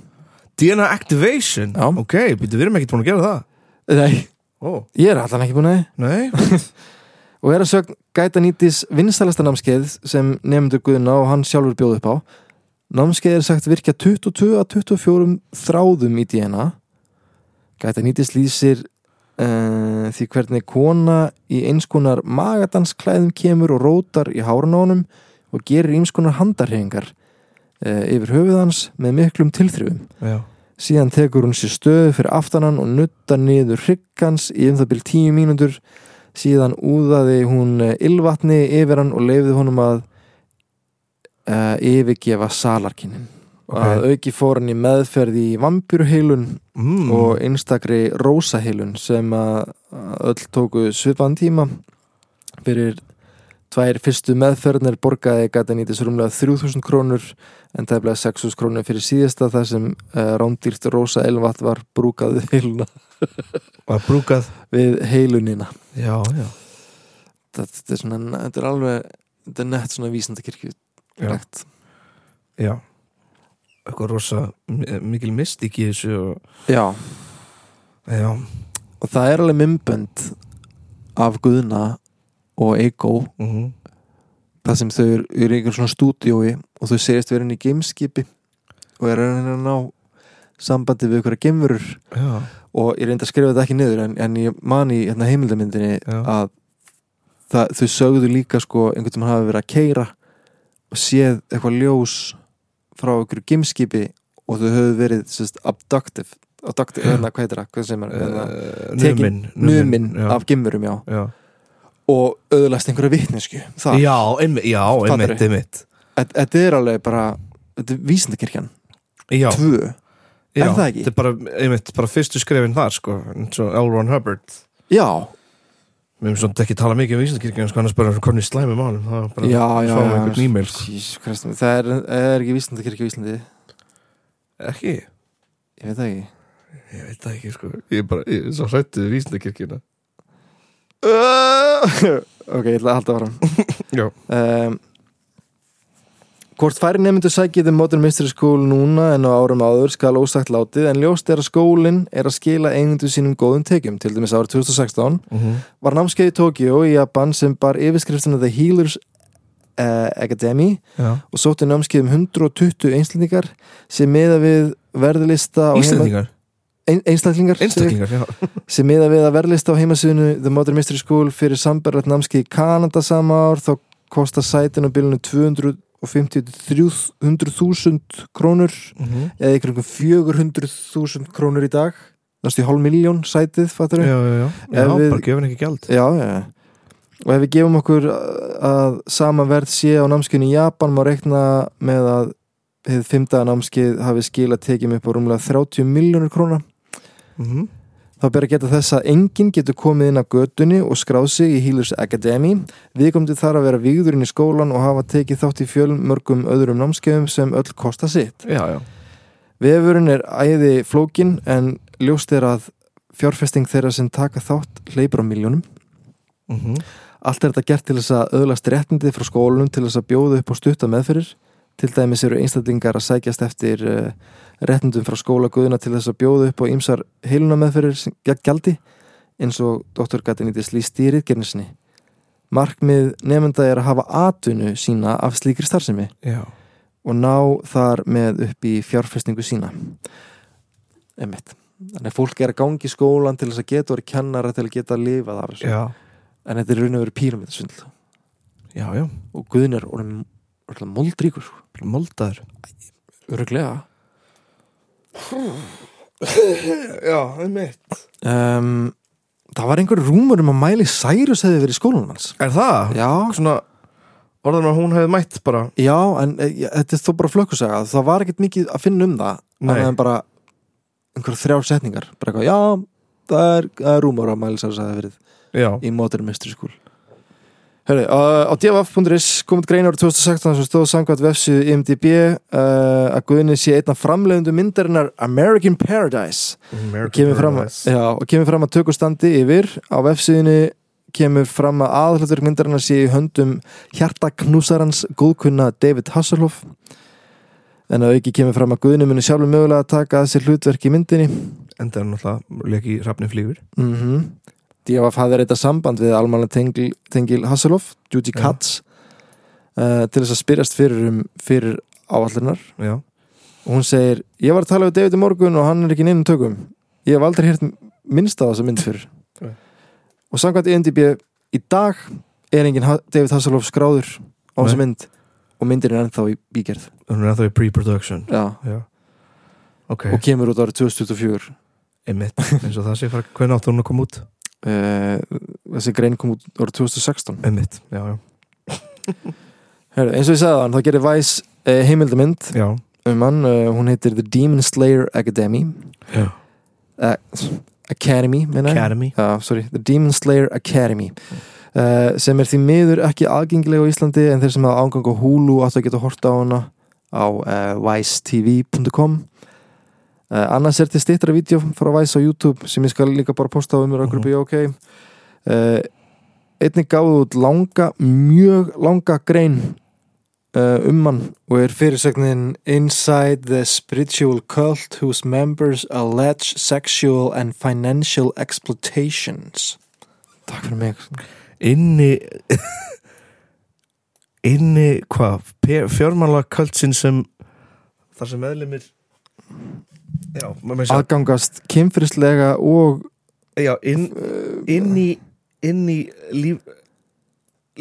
[SPEAKER 1] DNA Activation
[SPEAKER 4] Já.
[SPEAKER 1] Ok, býttu, við erum ekkert búin að gera það
[SPEAKER 4] Nei,
[SPEAKER 1] Ó,
[SPEAKER 4] ég er allan ekki búin að þið.
[SPEAKER 1] nei
[SPEAKER 4] og er að sögn gæta nýtis vinsælasta námskeið sem nefndur Guðna og hann sjálfur bjóð upp á námskeið er sagt virka 22 að 24 þráðum í DNA gæta nýtis lýsir uh, því hvernig kona í einskonar magadansklæðum kemur og rótar í hárunónum og gerir einskonar handarhefingar uh, yfir höfuð hans með miklum tilþrifum
[SPEAKER 1] Já
[SPEAKER 4] Síðan tekur hún sér stöðu fyrir aftanan og nutta niður hryggans í um það byrjum tíu mínútur. Síðan úðaði hún eh, ylvatni yfir hann og leifði honum að uh, yfirgefa salarkinin.
[SPEAKER 1] Ok.
[SPEAKER 4] Að auki fór hann í meðferð í vampýruheilun
[SPEAKER 1] mm.
[SPEAKER 4] og einstakri rósaheilun sem að að öll tóku svipan tíma. Fyrir tvær fyrstu meðferðnir borgaði gæti nýtis rúmlega 3000 krónur en tæflega 6.000 krónur fyrir síðasta þar sem uh, rándýrt rosa elvatt var brúkað við heiluna
[SPEAKER 1] Var brúkað
[SPEAKER 4] við heilunina
[SPEAKER 1] Já, já
[SPEAKER 4] þetta, þetta, er, svona, þetta er alveg þetta er nett svona vísindakirkju
[SPEAKER 1] Já.
[SPEAKER 4] nett.
[SPEAKER 1] Já Eitthvað rosa mi- mikil mystik í þessu og...
[SPEAKER 4] Já.
[SPEAKER 1] Já,
[SPEAKER 4] og það er alveg mymbönd af Guðna og Eiko
[SPEAKER 1] mhm
[SPEAKER 4] þar sem þau eru eru í einhver svona stúdíói og þau segist verið inn í gameskipi og er að reyna að ná sambandi við ykkur að geimverur
[SPEAKER 1] Já,
[SPEAKER 4] og ég reyndi að skrifa þetta ekki niður en, en ég man í hérna, heimildamyndinni
[SPEAKER 1] Já.
[SPEAKER 4] að það, þau sögðu líka sko einhvern veginn hafi verið að keira og séð eitthvað ljós frá einhverju gimskipi og þau höfðu verið sérst, abductive, abductive hérna, hvað heitir það, hvað sem er hérna,
[SPEAKER 1] uh,
[SPEAKER 4] tekin-
[SPEAKER 1] numin
[SPEAKER 4] numin
[SPEAKER 1] já,
[SPEAKER 4] af gimmurum já
[SPEAKER 1] já.
[SPEAKER 4] og öðlast einhverja vitnesku það,
[SPEAKER 1] já, einmitt, já, einmitt,
[SPEAKER 4] Fattari.
[SPEAKER 1] einmitt
[SPEAKER 4] Þetta- þetta er alveg bara þetta er vísindakirkjan,
[SPEAKER 1] Já,
[SPEAKER 4] tvö
[SPEAKER 1] já,
[SPEAKER 4] það ekki?
[SPEAKER 1] Þetta er bara, einmitt, bara fyrstu skrefin þar sko, eins og L. Ron Hubbard
[SPEAKER 4] já,
[SPEAKER 1] Við hefum svona ekki talað mikið um Íslandskirkjum sko annars bara konið slæmi málum það var bara
[SPEAKER 4] já, já,
[SPEAKER 1] fáum
[SPEAKER 4] já.
[SPEAKER 1] einhvern e-mail sko.
[SPEAKER 4] Jesus Christ, það er, er ekki vísindakirkja í Íslandi
[SPEAKER 1] Ekki,
[SPEAKER 4] ég veit það ekki
[SPEAKER 1] ég veit það ekki sko Ég er bara, ég er svo hrættu við Ah! Íslandskirkjuna
[SPEAKER 4] ok, ég ætla að halda fram
[SPEAKER 1] Já
[SPEAKER 4] um, Hvort færi nefndu sækið The Modern Mystery School núna en á árum áður skal ósagt látið en ljóst er að skólinn er að skila eigundu sínum góðum tekjum til dæmis árið 2016
[SPEAKER 1] Mhm.
[SPEAKER 4] var námskeið í Tokjó í Japan sem bar yfirskriftina The Healers uh, Academy
[SPEAKER 1] Já
[SPEAKER 4] og sótti námskeið um 120 einslendingar sem meða við verðlista á heima-
[SPEAKER 1] Íslandingar,
[SPEAKER 4] Ein, einstaklingar, sorry
[SPEAKER 1] einstaklingar, já
[SPEAKER 4] sem miða við að verðlista á heimasíðinu The Modern Mystery School fyrir sambarlegt námski í Kanada sama ár þá kostar sætin á bilinu 250-300.000 krónur
[SPEAKER 1] Mhm.
[SPEAKER 4] eða ykkur 400.000 krónur í dag næstu í hálf miljón sætið fattur
[SPEAKER 1] Já, já, já, já
[SPEAKER 4] Ef við-
[SPEAKER 1] bara gefin ekki gjald
[SPEAKER 4] já, já. Og ef við gefum okkur uh, að sama verð sé á námskinu í Japan má reikna með að hefð fymta námskið hafi skila tekið upp á rúmlega 30 miljónur króna
[SPEAKER 1] Mhm.
[SPEAKER 4] Þá ber að geta þess að enginn getur komið inn af götunni og skráð sig í Healers Academy. Viðkomandi þarf að vera vígðurinn í skólan og hafa tekið þátt í fjölmörgum öðrum námskefum sem öll kosta sitt.
[SPEAKER 1] Já, já
[SPEAKER 4] Vefurinn er æði flókin en ljóst er að fjárfesting þeirra sem taka þátt hleypur á miljónum.
[SPEAKER 1] Mhm.
[SPEAKER 4] Allt er þetta gert til þess að öðlast réttindi frá skólanum til þess að bjóða upp og stutta meðferðir. Til dæmis eru einstaklingar að sækjast eftir uh, réttindum frá skólaguðuna til þess að bjóða upp og ýmsar heiluna meðferðir sem gegn gjaldi eins og Dr. Gatinidis líst í rítgernisni. Markmið nefnda er að hafa atvinnu sína af slíkri starfsemi
[SPEAKER 1] Já,
[SPEAKER 4] og ná þar með upp í fjárfestingu sína. Emmett. Þannig að fólk er að gangi skólan til þess að geta orðið kennara til að geta lifað af þessu.
[SPEAKER 1] já,
[SPEAKER 4] En þetta er raun og verið píramidasvindl
[SPEAKER 1] já, já
[SPEAKER 4] og Guðin er orðin orðin moldríkur sko.
[SPEAKER 1] Moldaður
[SPEAKER 4] Öruglega
[SPEAKER 1] Já, það er mitt
[SPEAKER 4] um, Það var einhver rúmur um að Miley Cyrus hefði verið í skólanum hans
[SPEAKER 1] Er það?
[SPEAKER 4] Já,
[SPEAKER 1] Svona orðan að hún hefði mætt bara
[SPEAKER 4] já en e, ja, þetta er þó bara flökkusaga Það var ekkert mikið að finna um það
[SPEAKER 1] Nei.
[SPEAKER 4] Þannig að bara einhverja þrjár setningar bara eitthvað, Já, það er, það er rúmur að Miley Cyrus hefði verið
[SPEAKER 1] Já,
[SPEAKER 4] í Modern Mystery School Hörru, á, á dfaf.is komið grein árið 2016 sem stóð samkvæmt vefsu IMDb uh, að Guðinni sé einn af framleiðundu myndarinnar American Paradise
[SPEAKER 1] American
[SPEAKER 4] kemur fram,
[SPEAKER 1] Paradise.
[SPEAKER 4] já, og kemur fram að tökustandi yfir á vefsíðinu kemur fram að aðhlautverk myndarinnar sé í höndum hjartaknúsarans góðkunna David Hasselhoff en að auki kemur fram að guðinu muni sjálfur mögulega að taka að sér hlutverk í myndinni
[SPEAKER 1] Enda er hann náttúrulega leik í Hrafni flýgur
[SPEAKER 4] mm -hmm. D.A.F. hafði reynda samband við almanlega tengil, tengil Hasselhoff, Judy
[SPEAKER 1] Já.
[SPEAKER 4] Katz uh, til þess að spyrjast fyrir, um, fyrir áallunar
[SPEAKER 1] Já,
[SPEAKER 4] og hún segir, ég var að tala við David í morgun og hann er ekki í neinum tökum ég hef aldrei hirt minnst á þessa mynd fyrir
[SPEAKER 1] Nei.
[SPEAKER 4] og samkvæmt IMDb í dag er engin Ha- David Hasselhoff skráður á þessa
[SPEAKER 1] Nei.
[SPEAKER 4] mynd og myndir er ennþá í bígerð
[SPEAKER 1] hún er ennþá í pre-production
[SPEAKER 4] Já.
[SPEAKER 1] Já Ok,
[SPEAKER 4] og kemur út árið 2024
[SPEAKER 1] emitt, eins og það sé fara Hvernig áttu hún að koma út?
[SPEAKER 4] uh, þessi grein kom út árið 2016
[SPEAKER 1] Emitt, já, já,
[SPEAKER 4] Heru, eins og ég sagði þann, þá gerir Vice uh, heimildamynd
[SPEAKER 1] já.
[SPEAKER 4] um hann, uh, hún heitir The Demon Slayer Academy
[SPEAKER 1] Já.
[SPEAKER 4] uh, Academy meina ég.
[SPEAKER 1] Academy
[SPEAKER 4] Já, sorry, The Demon Slayer Academy uh, sem er því miður ekki aðgengilega á Íslandi en þeir sem hafa ángang á Hulu áttu að geta horta á hana á uh, vice.tv.com uh, annars er til stittra vídeo frá Vice á YouTube sem ég skal líka bara posta á umur okkur
[SPEAKER 1] Mhm.
[SPEAKER 4] byrja ok uh, einnig gáðu út langa, mjög langa grein uh, um hann og er fyrirsögnin Inside the spiritual cult whose members allege sexual and financial exploitations Takk fyrir mig
[SPEAKER 1] Inni Inni, hvað? Pe- Fjármála kvöldsinn sem Þar sem meðlumir Já, maður með sér
[SPEAKER 4] Aðgangast kynfyrslega og eh,
[SPEAKER 1] Já, inn, inn í Inn í líf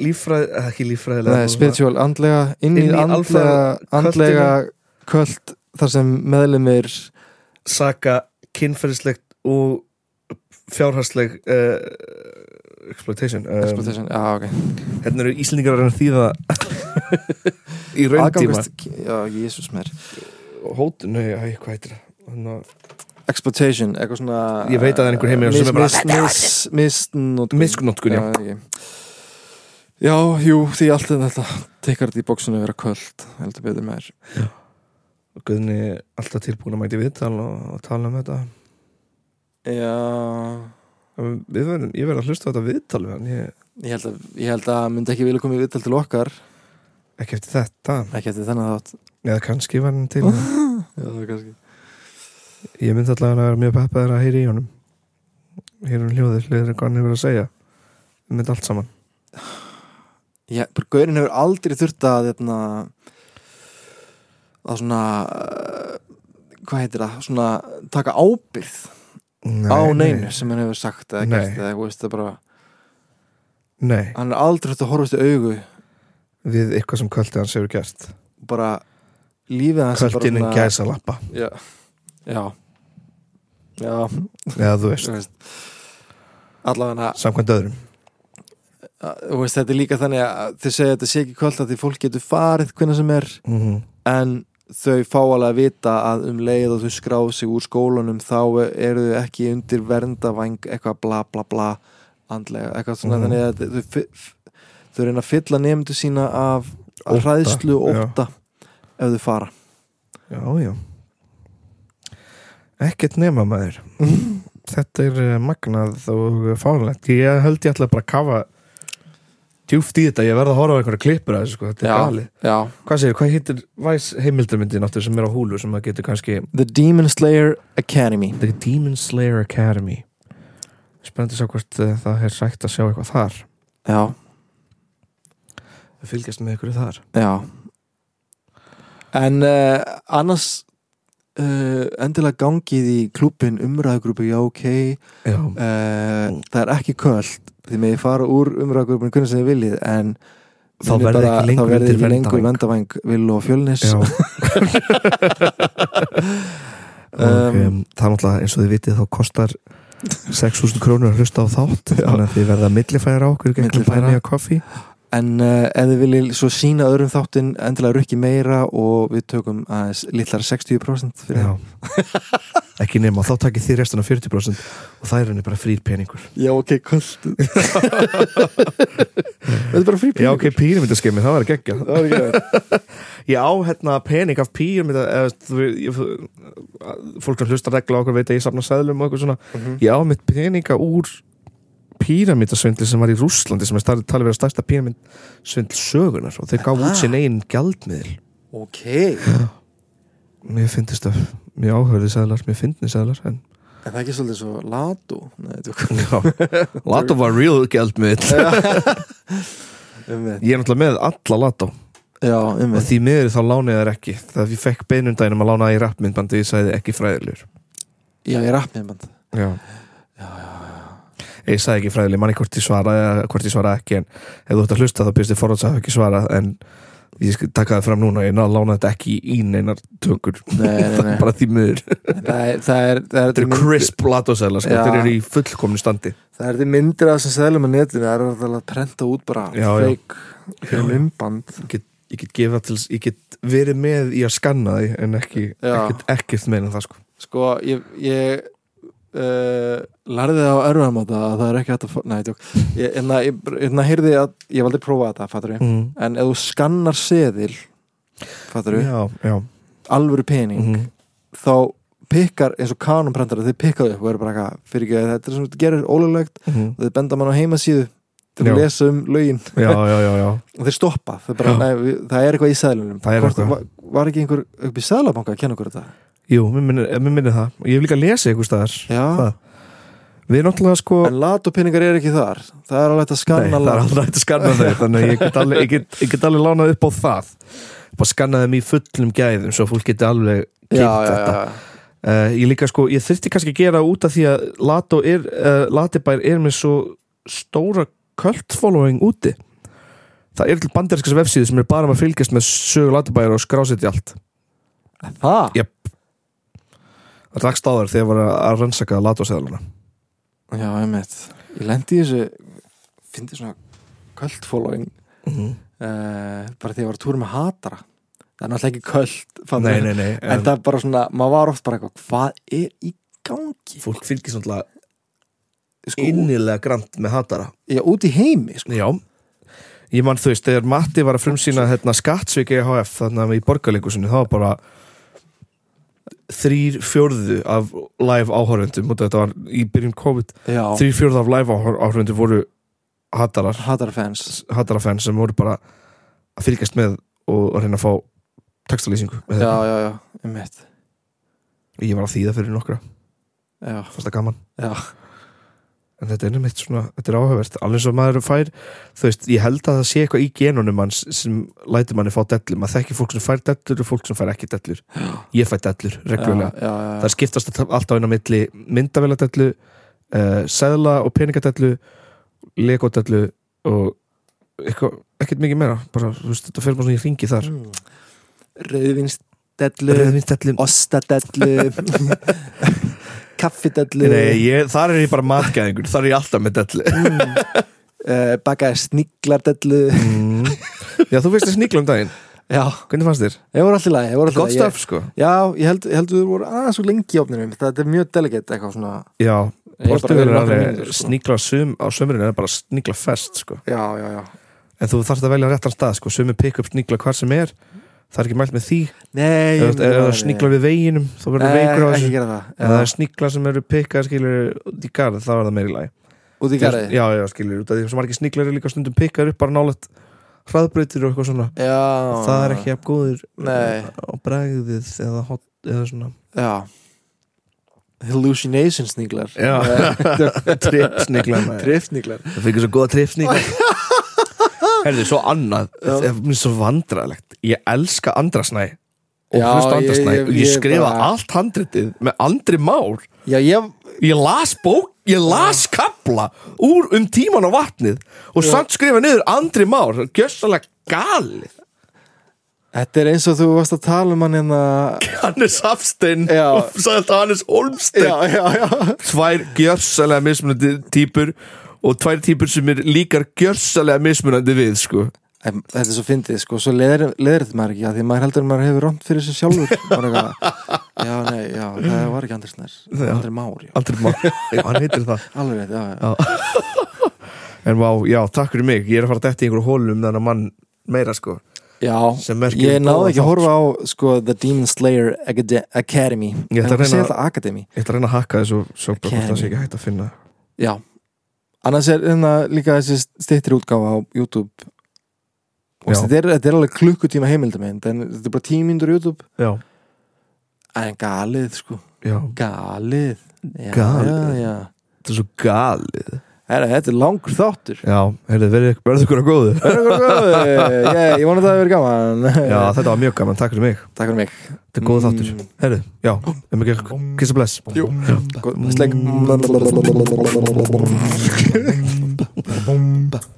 [SPEAKER 1] Lífræð, eh, ekki lífræðilega
[SPEAKER 4] nei, spiritual andlega inn í
[SPEAKER 1] Inn í
[SPEAKER 4] andlega,
[SPEAKER 1] alfa-
[SPEAKER 4] andlega kvöld þar sem meðlumir
[SPEAKER 1] Saka kynferðislegt og fjárhagsleg uh, exploitation, um,
[SPEAKER 4] exploitation, já ok
[SPEAKER 1] Hérna eru Íslendingar að reyna að þýða Í rauntíma
[SPEAKER 4] Aðgangast, já, jésús mér
[SPEAKER 1] Hótun, nei, æ, hvað heitir það Þannig að
[SPEAKER 4] exploitation, eitthvað svona
[SPEAKER 1] Ég veit að það er einhver heimur sem er bara-
[SPEAKER 4] mis, misnotkun
[SPEAKER 1] Misnotkun, já.
[SPEAKER 4] já, ekki. já, jú, því allt er þetta tekkar þetta í bóksinu að vera kvöld heldur betur með þér
[SPEAKER 1] Guðni er alltaf tilbúin að mæti viðtal og, og tala um þetta
[SPEAKER 4] já,
[SPEAKER 1] En við verðum, ég verð að hlusta á þetta viðtal við hann, ég,
[SPEAKER 4] ég held að ég held að hann myndi ekki vilja koma í viðtal til okkar
[SPEAKER 1] ekki eftir þetta
[SPEAKER 4] ekki eftir þennan þátt
[SPEAKER 1] eða kannski var hann til
[SPEAKER 4] já, það er kannski
[SPEAKER 1] ég myndi allavega að vera mjög peppaður að heyri í honum heyri um hljóðið, hlutir hvað hann hefur að segja við myndi allt saman
[SPEAKER 4] Já, bara gaurin hefur aldrei þurft að þérna að svona uh, hvað heitir það, svona taka ábyrð
[SPEAKER 1] nei,
[SPEAKER 4] á neinu sem hann hefur sagt eða
[SPEAKER 1] Nei.
[SPEAKER 4] gert eða þú veist það bara,
[SPEAKER 1] nei,
[SPEAKER 4] hann er aldrei þurft að horfast í augu
[SPEAKER 1] við eitthvað sem kvöldið hans hefur gert
[SPEAKER 4] og bara lífið hans er bara
[SPEAKER 1] kvöldin en
[SPEAKER 4] svona-
[SPEAKER 1] gæsa lappa
[SPEAKER 4] Já, já, já
[SPEAKER 1] eða þú veist,
[SPEAKER 4] þú veist allavega
[SPEAKER 1] samkvæmt öðrum
[SPEAKER 4] að, þú veist, þetta er líka þannig að þið segja að þetta sé ekki kvöld að því fólk getur farið hvenna sem er
[SPEAKER 1] mm
[SPEAKER 4] en þau fá alveg að vita að um leið og þau skráð sig úr skólanum þá eru þau ekki undir verndavæng eitthvað bla bla bla andlega, eitthvað svona
[SPEAKER 1] Mhm.
[SPEAKER 4] þannig að þau, fi- f- þau reyna að fylla nefndu sína af
[SPEAKER 1] Ótta,
[SPEAKER 4] óta, hræðslu og
[SPEAKER 1] já.
[SPEAKER 4] óta ef þau fara
[SPEAKER 1] já, já ekkert nema maður þetta er eh, magnað og fárlegt ég held ég ætla bara að kafa djúft í þetta, ég verð að horfa á einhverja klippur að þessu, sko, þetta er galið
[SPEAKER 4] já.
[SPEAKER 1] Hvað segir, hvað hittir væs heimildarmyndin áttur sem er á húlu sem maður getur kannski
[SPEAKER 4] The Demon Slayer Academy
[SPEAKER 1] The Demon Slayer Academy Spennandi að sjá hvort uh, það er sætt að sjá eitthvað þar
[SPEAKER 4] já,
[SPEAKER 1] Að Fylgjast með ykkur þar
[SPEAKER 4] já en uh, annars uh, endilega gangið í klúbin umræðgrúpi, já ok
[SPEAKER 1] Já,
[SPEAKER 4] uh, það er ekki kvöld því með ég fara úr umræðagrupinu hvernig sem þið viljið en
[SPEAKER 1] Þá
[SPEAKER 4] munið
[SPEAKER 1] verðið
[SPEAKER 4] bara-
[SPEAKER 1] ekki lengur
[SPEAKER 4] þá verðið
[SPEAKER 1] undir
[SPEAKER 4] ekki lengur
[SPEAKER 1] verndarvæng.
[SPEAKER 4] vendavæng vil og fjölnis
[SPEAKER 1] já. og,
[SPEAKER 4] Um,
[SPEAKER 1] um, það er náttúrulega eins og þið vitið þá kostar 6.000 krónur að hlusta á þátt þannig að þið verða millifæra á okkur gegnum
[SPEAKER 4] Millifæra.
[SPEAKER 1] bæni og koffi
[SPEAKER 4] en uh, ef þið viljið svo sína öðrum þáttinn endilega rukki meira og við tökum aðeins litlar 60% fyrir
[SPEAKER 1] Já Ekki nema, þá takið þið restan af 40% og það er henni bara frýr peningur
[SPEAKER 4] já ok, kvöld þetta er bara frí
[SPEAKER 1] Já, ok, píramítaskemi, það var geggja
[SPEAKER 4] það var ekki ræð
[SPEAKER 1] Já, hérna, pening af píramíta eða, þú veist, ég, fólk sem hlustar regla á okkur veit að ég safna sæðlum og eitthvað svona
[SPEAKER 4] Mhm.
[SPEAKER 1] Já, mitt peninga úr píramítasvindli sem var í Rússlandi sem er starf, talið vera stærsta píramítasvindl sögunar og þeir gaf út sinn einn gjaldmiðl
[SPEAKER 4] ok,
[SPEAKER 1] Mér finnst það, mér áhörði sæðlar, mér finnst sæðlar en
[SPEAKER 4] en það er ekki svolítið svo latu Nei, þetta er-
[SPEAKER 1] Já, Lato var real gjaldmiðl
[SPEAKER 4] um mitt.
[SPEAKER 1] Ég er náttúrulega með alla Lato
[SPEAKER 4] já, um
[SPEAKER 1] og
[SPEAKER 4] mitt.
[SPEAKER 1] því miður þá lánaði þær ekki það ég fekk beinundæðin um að lána það í rappmyndbandi ég sagði ekki fræðilur
[SPEAKER 4] já, ég rapp mér band
[SPEAKER 1] já. ég sagði ekki fræðileg manni hvort ég svaraði eða hvort ég svaraði ekki en ef þú ert að hlusta þá byrst ég forhans að hafa ekki svarað en ég skal taka það fram núna ég náði að lána þetta ekki í neinar töngur
[SPEAKER 4] Nei, nei, nei.
[SPEAKER 1] bara því miður
[SPEAKER 4] það er, það er, það er,
[SPEAKER 1] þetta eru crisp latosæla sko.
[SPEAKER 4] Já.
[SPEAKER 1] þeir eru í fullkomnu standi
[SPEAKER 4] Það er því myndir af þessum seðlum á netinu Það er alltaf að prenta út bara
[SPEAKER 1] Já, já.
[SPEAKER 4] feik fyrir mymband
[SPEAKER 1] ég get, ég get, gefa til, ég get verið með í að skanna því en ekki,
[SPEAKER 4] Já.
[SPEAKER 1] ekkert, ekkert meina það sko.
[SPEAKER 4] Sko, ég, ég uh, lærði það á erfaðamáta að það er ekki hægt að fá- Nei, tjók Ég, en það, ég, ég, ég heyrði að ég valdi að prófa þetta, fattur við
[SPEAKER 1] mm.
[SPEAKER 4] En ef þú skannar seðil fattur við,
[SPEAKER 1] já, já
[SPEAKER 4] alvöru pening
[SPEAKER 1] mm.
[SPEAKER 4] þá pikkar, eins og kanonprentara þeir pikkaðu upp og eru bara eitthvað fyrir ekki þetta er sem þetta gerir ólulegt
[SPEAKER 1] Mm.
[SPEAKER 4] og þeir benda mann á heimasíðu til
[SPEAKER 1] Já.
[SPEAKER 4] að lesa um lögin
[SPEAKER 1] já, já, já, já
[SPEAKER 4] og þeir stoppa þeir bara, nei, við, það er eitthvað í sæðlunum
[SPEAKER 1] Það er eitthvað.
[SPEAKER 4] var, var ekki einhver upp í sæðlabanka að kenna okkur þetta
[SPEAKER 1] Jú, mér minnir, mér minnir það og Ég hef líka lesið einhver staðar
[SPEAKER 4] já,
[SPEAKER 1] Það. Við náttúrulega sko
[SPEAKER 4] en latopeningar er ekki þar það er alveg hægt að skanna
[SPEAKER 1] Nei, það er
[SPEAKER 4] lat
[SPEAKER 1] alltaf hægt að skanna þau Þannig að ég get alveg, ég get, ég get alveg lánað upp á það Bara skanna þeim í fullum gæðum Svo fólk geti alveg kynnt
[SPEAKER 4] já, já,
[SPEAKER 1] þetta
[SPEAKER 4] já,
[SPEAKER 1] uh, Ég líka sko, ég þyrfti kannski að gera út af því að Lato er, uh, Latibær er með svo stóra cult following úti Það er til bandarinskars vefsíðu sem er bara um að fylgjast með sögu Latibær og skrásetja allt
[SPEAKER 4] það?
[SPEAKER 1] Ég- Það rakst á þær þegar ég var að rannsaka Lato-seðluna
[SPEAKER 4] já, ég meitt ég lendi í þessu, fyndi svona kvöld following uh, bara því að ég var að túra með hatara það er náttúrulega ekki kvöld
[SPEAKER 1] Nei, nei, nei
[SPEAKER 4] en það er bara svona, maður var oft bara eitthvað hvað er í gangi?
[SPEAKER 1] fólk fylgir svona
[SPEAKER 4] Sko,
[SPEAKER 1] innilega grant með hatara
[SPEAKER 4] Já, út í heimi sko.
[SPEAKER 1] Já Ég mann þú veist, þegar Matti var að frumsýna hérna, skattsvík EHF þannig að í borgarleikusinu þá var bara þrýr fjórðu af live áhörendum og þetta var í byrjun COVID
[SPEAKER 4] Já,
[SPEAKER 1] þrýr fjórðu af live áhör- áhörendum voru hattarar,
[SPEAKER 4] hattar fans
[SPEAKER 1] hattarafenn sem voru bara að fylgjast með og að reyna að fá textalýsingu
[SPEAKER 4] Já,
[SPEAKER 1] með þeim.
[SPEAKER 4] já, já, um mitt
[SPEAKER 1] Ég var að þýða fyrir nokkra,
[SPEAKER 4] Já,
[SPEAKER 1] fannst það gaman
[SPEAKER 4] já,
[SPEAKER 1] en þetta er nefnitt svona, þetta er áhugavert alveg eins og maður fær, þú veist, ég held að það sé eitthvað í genunum hans sem lætur manni fá dellur, maður þekkir fólk sem fær dellur og fólk sem fær ekki dellur, ég fær dellur reglulega,
[SPEAKER 4] já, já, já.
[SPEAKER 1] það skiptast alltaf- alltaf inn á milli myndavela dellu uh, seðla og peningadellu lego dellu og eitthvað, ekkert mikið meira bara, þú veist, þetta fyrir bara svona í ringi þar
[SPEAKER 4] Mm. Rauðvinsdellu
[SPEAKER 1] Rauðvínsdellu-
[SPEAKER 4] Ostadellu Kaffidellu
[SPEAKER 1] Nei, ég, þar er ég bara matgæðingur, þar er ég alltaf með dellu
[SPEAKER 4] uh, Bakaði Mm. sniglardellu
[SPEAKER 1] mm. Já, þú veist þess nýkla um daginn
[SPEAKER 4] Já,
[SPEAKER 1] Hvernig fannst þér?
[SPEAKER 4] ég voru allir lagi, ég voru allir
[SPEAKER 1] Gott
[SPEAKER 4] lagi
[SPEAKER 1] stöf, sko
[SPEAKER 4] Já, ég held, ég held við voru aðeins og lengi í ofninum Þetta er mjög delegate eitthvað svona
[SPEAKER 1] Já,
[SPEAKER 4] Ég er bara
[SPEAKER 1] Portugal er
[SPEAKER 4] verið nokkrar
[SPEAKER 1] alveg
[SPEAKER 4] mínútur, sko.
[SPEAKER 1] sníkla sum, á sömurinn er bara sníkla fest sko.
[SPEAKER 4] Já, já, já
[SPEAKER 1] en þú þarfst að velja réttan stað sko. sömur pick up sníkla hvar sem er það er ekki mælt með því
[SPEAKER 4] Nei,
[SPEAKER 1] ef ef það sníkla við veginum þá verður veikur á
[SPEAKER 4] Ekki
[SPEAKER 1] þessu
[SPEAKER 4] gera það
[SPEAKER 1] en það
[SPEAKER 4] Já.
[SPEAKER 1] er sníkla sem eru pikkað skilur út í garð þá er það meiri lagi
[SPEAKER 4] Út í garði
[SPEAKER 1] já, já, skilur, út af því sem margir sníklar eru líka stundum pikkað upp bara nálægt hraðbreytir og eitthvað svona
[SPEAKER 4] Já
[SPEAKER 1] það er ekki jafn góður
[SPEAKER 4] Ah.
[SPEAKER 1] eh,
[SPEAKER 4] Nei.
[SPEAKER 1] á bregðið eða, hot, eða svona
[SPEAKER 4] Já Hallucination sniglar
[SPEAKER 1] tripsníkla
[SPEAKER 4] Triftniglar
[SPEAKER 1] Það fyrir svo góða tripsníkar Herðu, svo annað Það er mér svo vandræðilegt Ég elska andrasnæ Og
[SPEAKER 4] Já,
[SPEAKER 1] hlusta andrasnæ
[SPEAKER 4] ég- ég-
[SPEAKER 1] Og ég
[SPEAKER 4] ég
[SPEAKER 1] skrifa
[SPEAKER 4] bara-
[SPEAKER 1] allt handritið Með andri már
[SPEAKER 4] Já, ég
[SPEAKER 1] Ég las bók, ég las kapla Úr um tíman á vatnið Og samt skrifa niður andri már Gjössalega galið
[SPEAKER 4] Þetta er eins og þú varst að tala um hann hérna
[SPEAKER 1] Hannes Hafstein
[SPEAKER 4] Já.
[SPEAKER 1] og sagði þetta Hannes Holmstein
[SPEAKER 4] Já, já, já
[SPEAKER 1] tvær gjörsalega mismunandi típur og tvær típur sem er líkar gjörsalega mismunandi við sko.
[SPEAKER 4] En Þetta er svo fyndið, sko, svo leður, leður þetta maður ekki að því maður heldur að maður hefur rámt fyrir sér sjálfur Maður er eitthvað, já, nei, já, það var ekki Andri Snær það var Andri Már, já,
[SPEAKER 1] Andri Már, já, hann heitir það
[SPEAKER 4] alveg rétt, já, já,
[SPEAKER 1] En vá, já, takk fyrir mig, ég er að fara að detta í einhverju hólum um þennan mann meira sko Sem
[SPEAKER 4] já
[SPEAKER 1] merkir
[SPEAKER 4] Ég náði ekki
[SPEAKER 1] góðan
[SPEAKER 4] að
[SPEAKER 1] þátt,
[SPEAKER 4] horfa á, sko, The Demon Slayer Acad- Academy
[SPEAKER 1] Ég ætla að
[SPEAKER 4] En hvað
[SPEAKER 1] reyna-
[SPEAKER 4] segir það Academy?
[SPEAKER 1] Ég ætla að reyna að hakka þessu svo bara hvort það sé
[SPEAKER 4] Kenny.
[SPEAKER 1] ekki hægt að finna
[SPEAKER 4] Já, annars er hérna líka þessi styttir útgáfa á YouTube Og
[SPEAKER 1] Já.
[SPEAKER 4] þetta er, þetta er alveg klukkutíma heimildamind En þetta er bara tímindur YouTube
[SPEAKER 1] Já,
[SPEAKER 4] En galið, sko,
[SPEAKER 1] já,
[SPEAKER 4] galið Já,
[SPEAKER 1] Galið.
[SPEAKER 4] já, já
[SPEAKER 1] þetta er svo galið
[SPEAKER 4] Herra, þetta er langur þáttur
[SPEAKER 1] Já, heyrðu, verður verður ykkur að góðu
[SPEAKER 4] ég, ég vona að það hefur verið gaman
[SPEAKER 1] Já, þetta var mjög gaman, takk fyrir mig
[SPEAKER 4] Takk fyrir mig
[SPEAKER 1] Þetta er góð þáttur, heyrðu, já, um ekki kiss og bless Mm. Mm. Jú,
[SPEAKER 4] Góð- Slegg
[SPEAKER 5] No,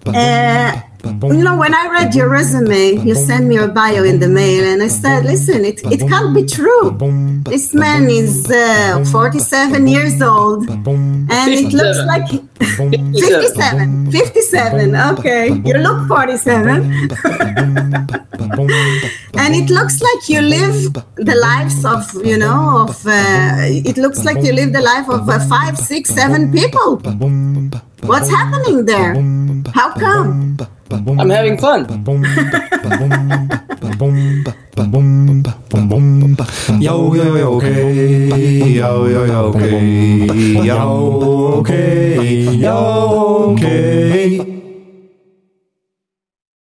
[SPEAKER 5] Uh, when I read your resume, you sent me your bio in the mail, and I said, listen, it, it can't be true. This man is uh, 47 years old, and it looks like 57. 57, okay. You look 47, and it looks like you live the lives of, you know, of, uh, it looks like you live the life of uh, five, six, seven people. What's happening there? How come?
[SPEAKER 3] I'm having fun.
[SPEAKER 2] Já, já, já, ok Já, já, já, ok Já, ok Já, ok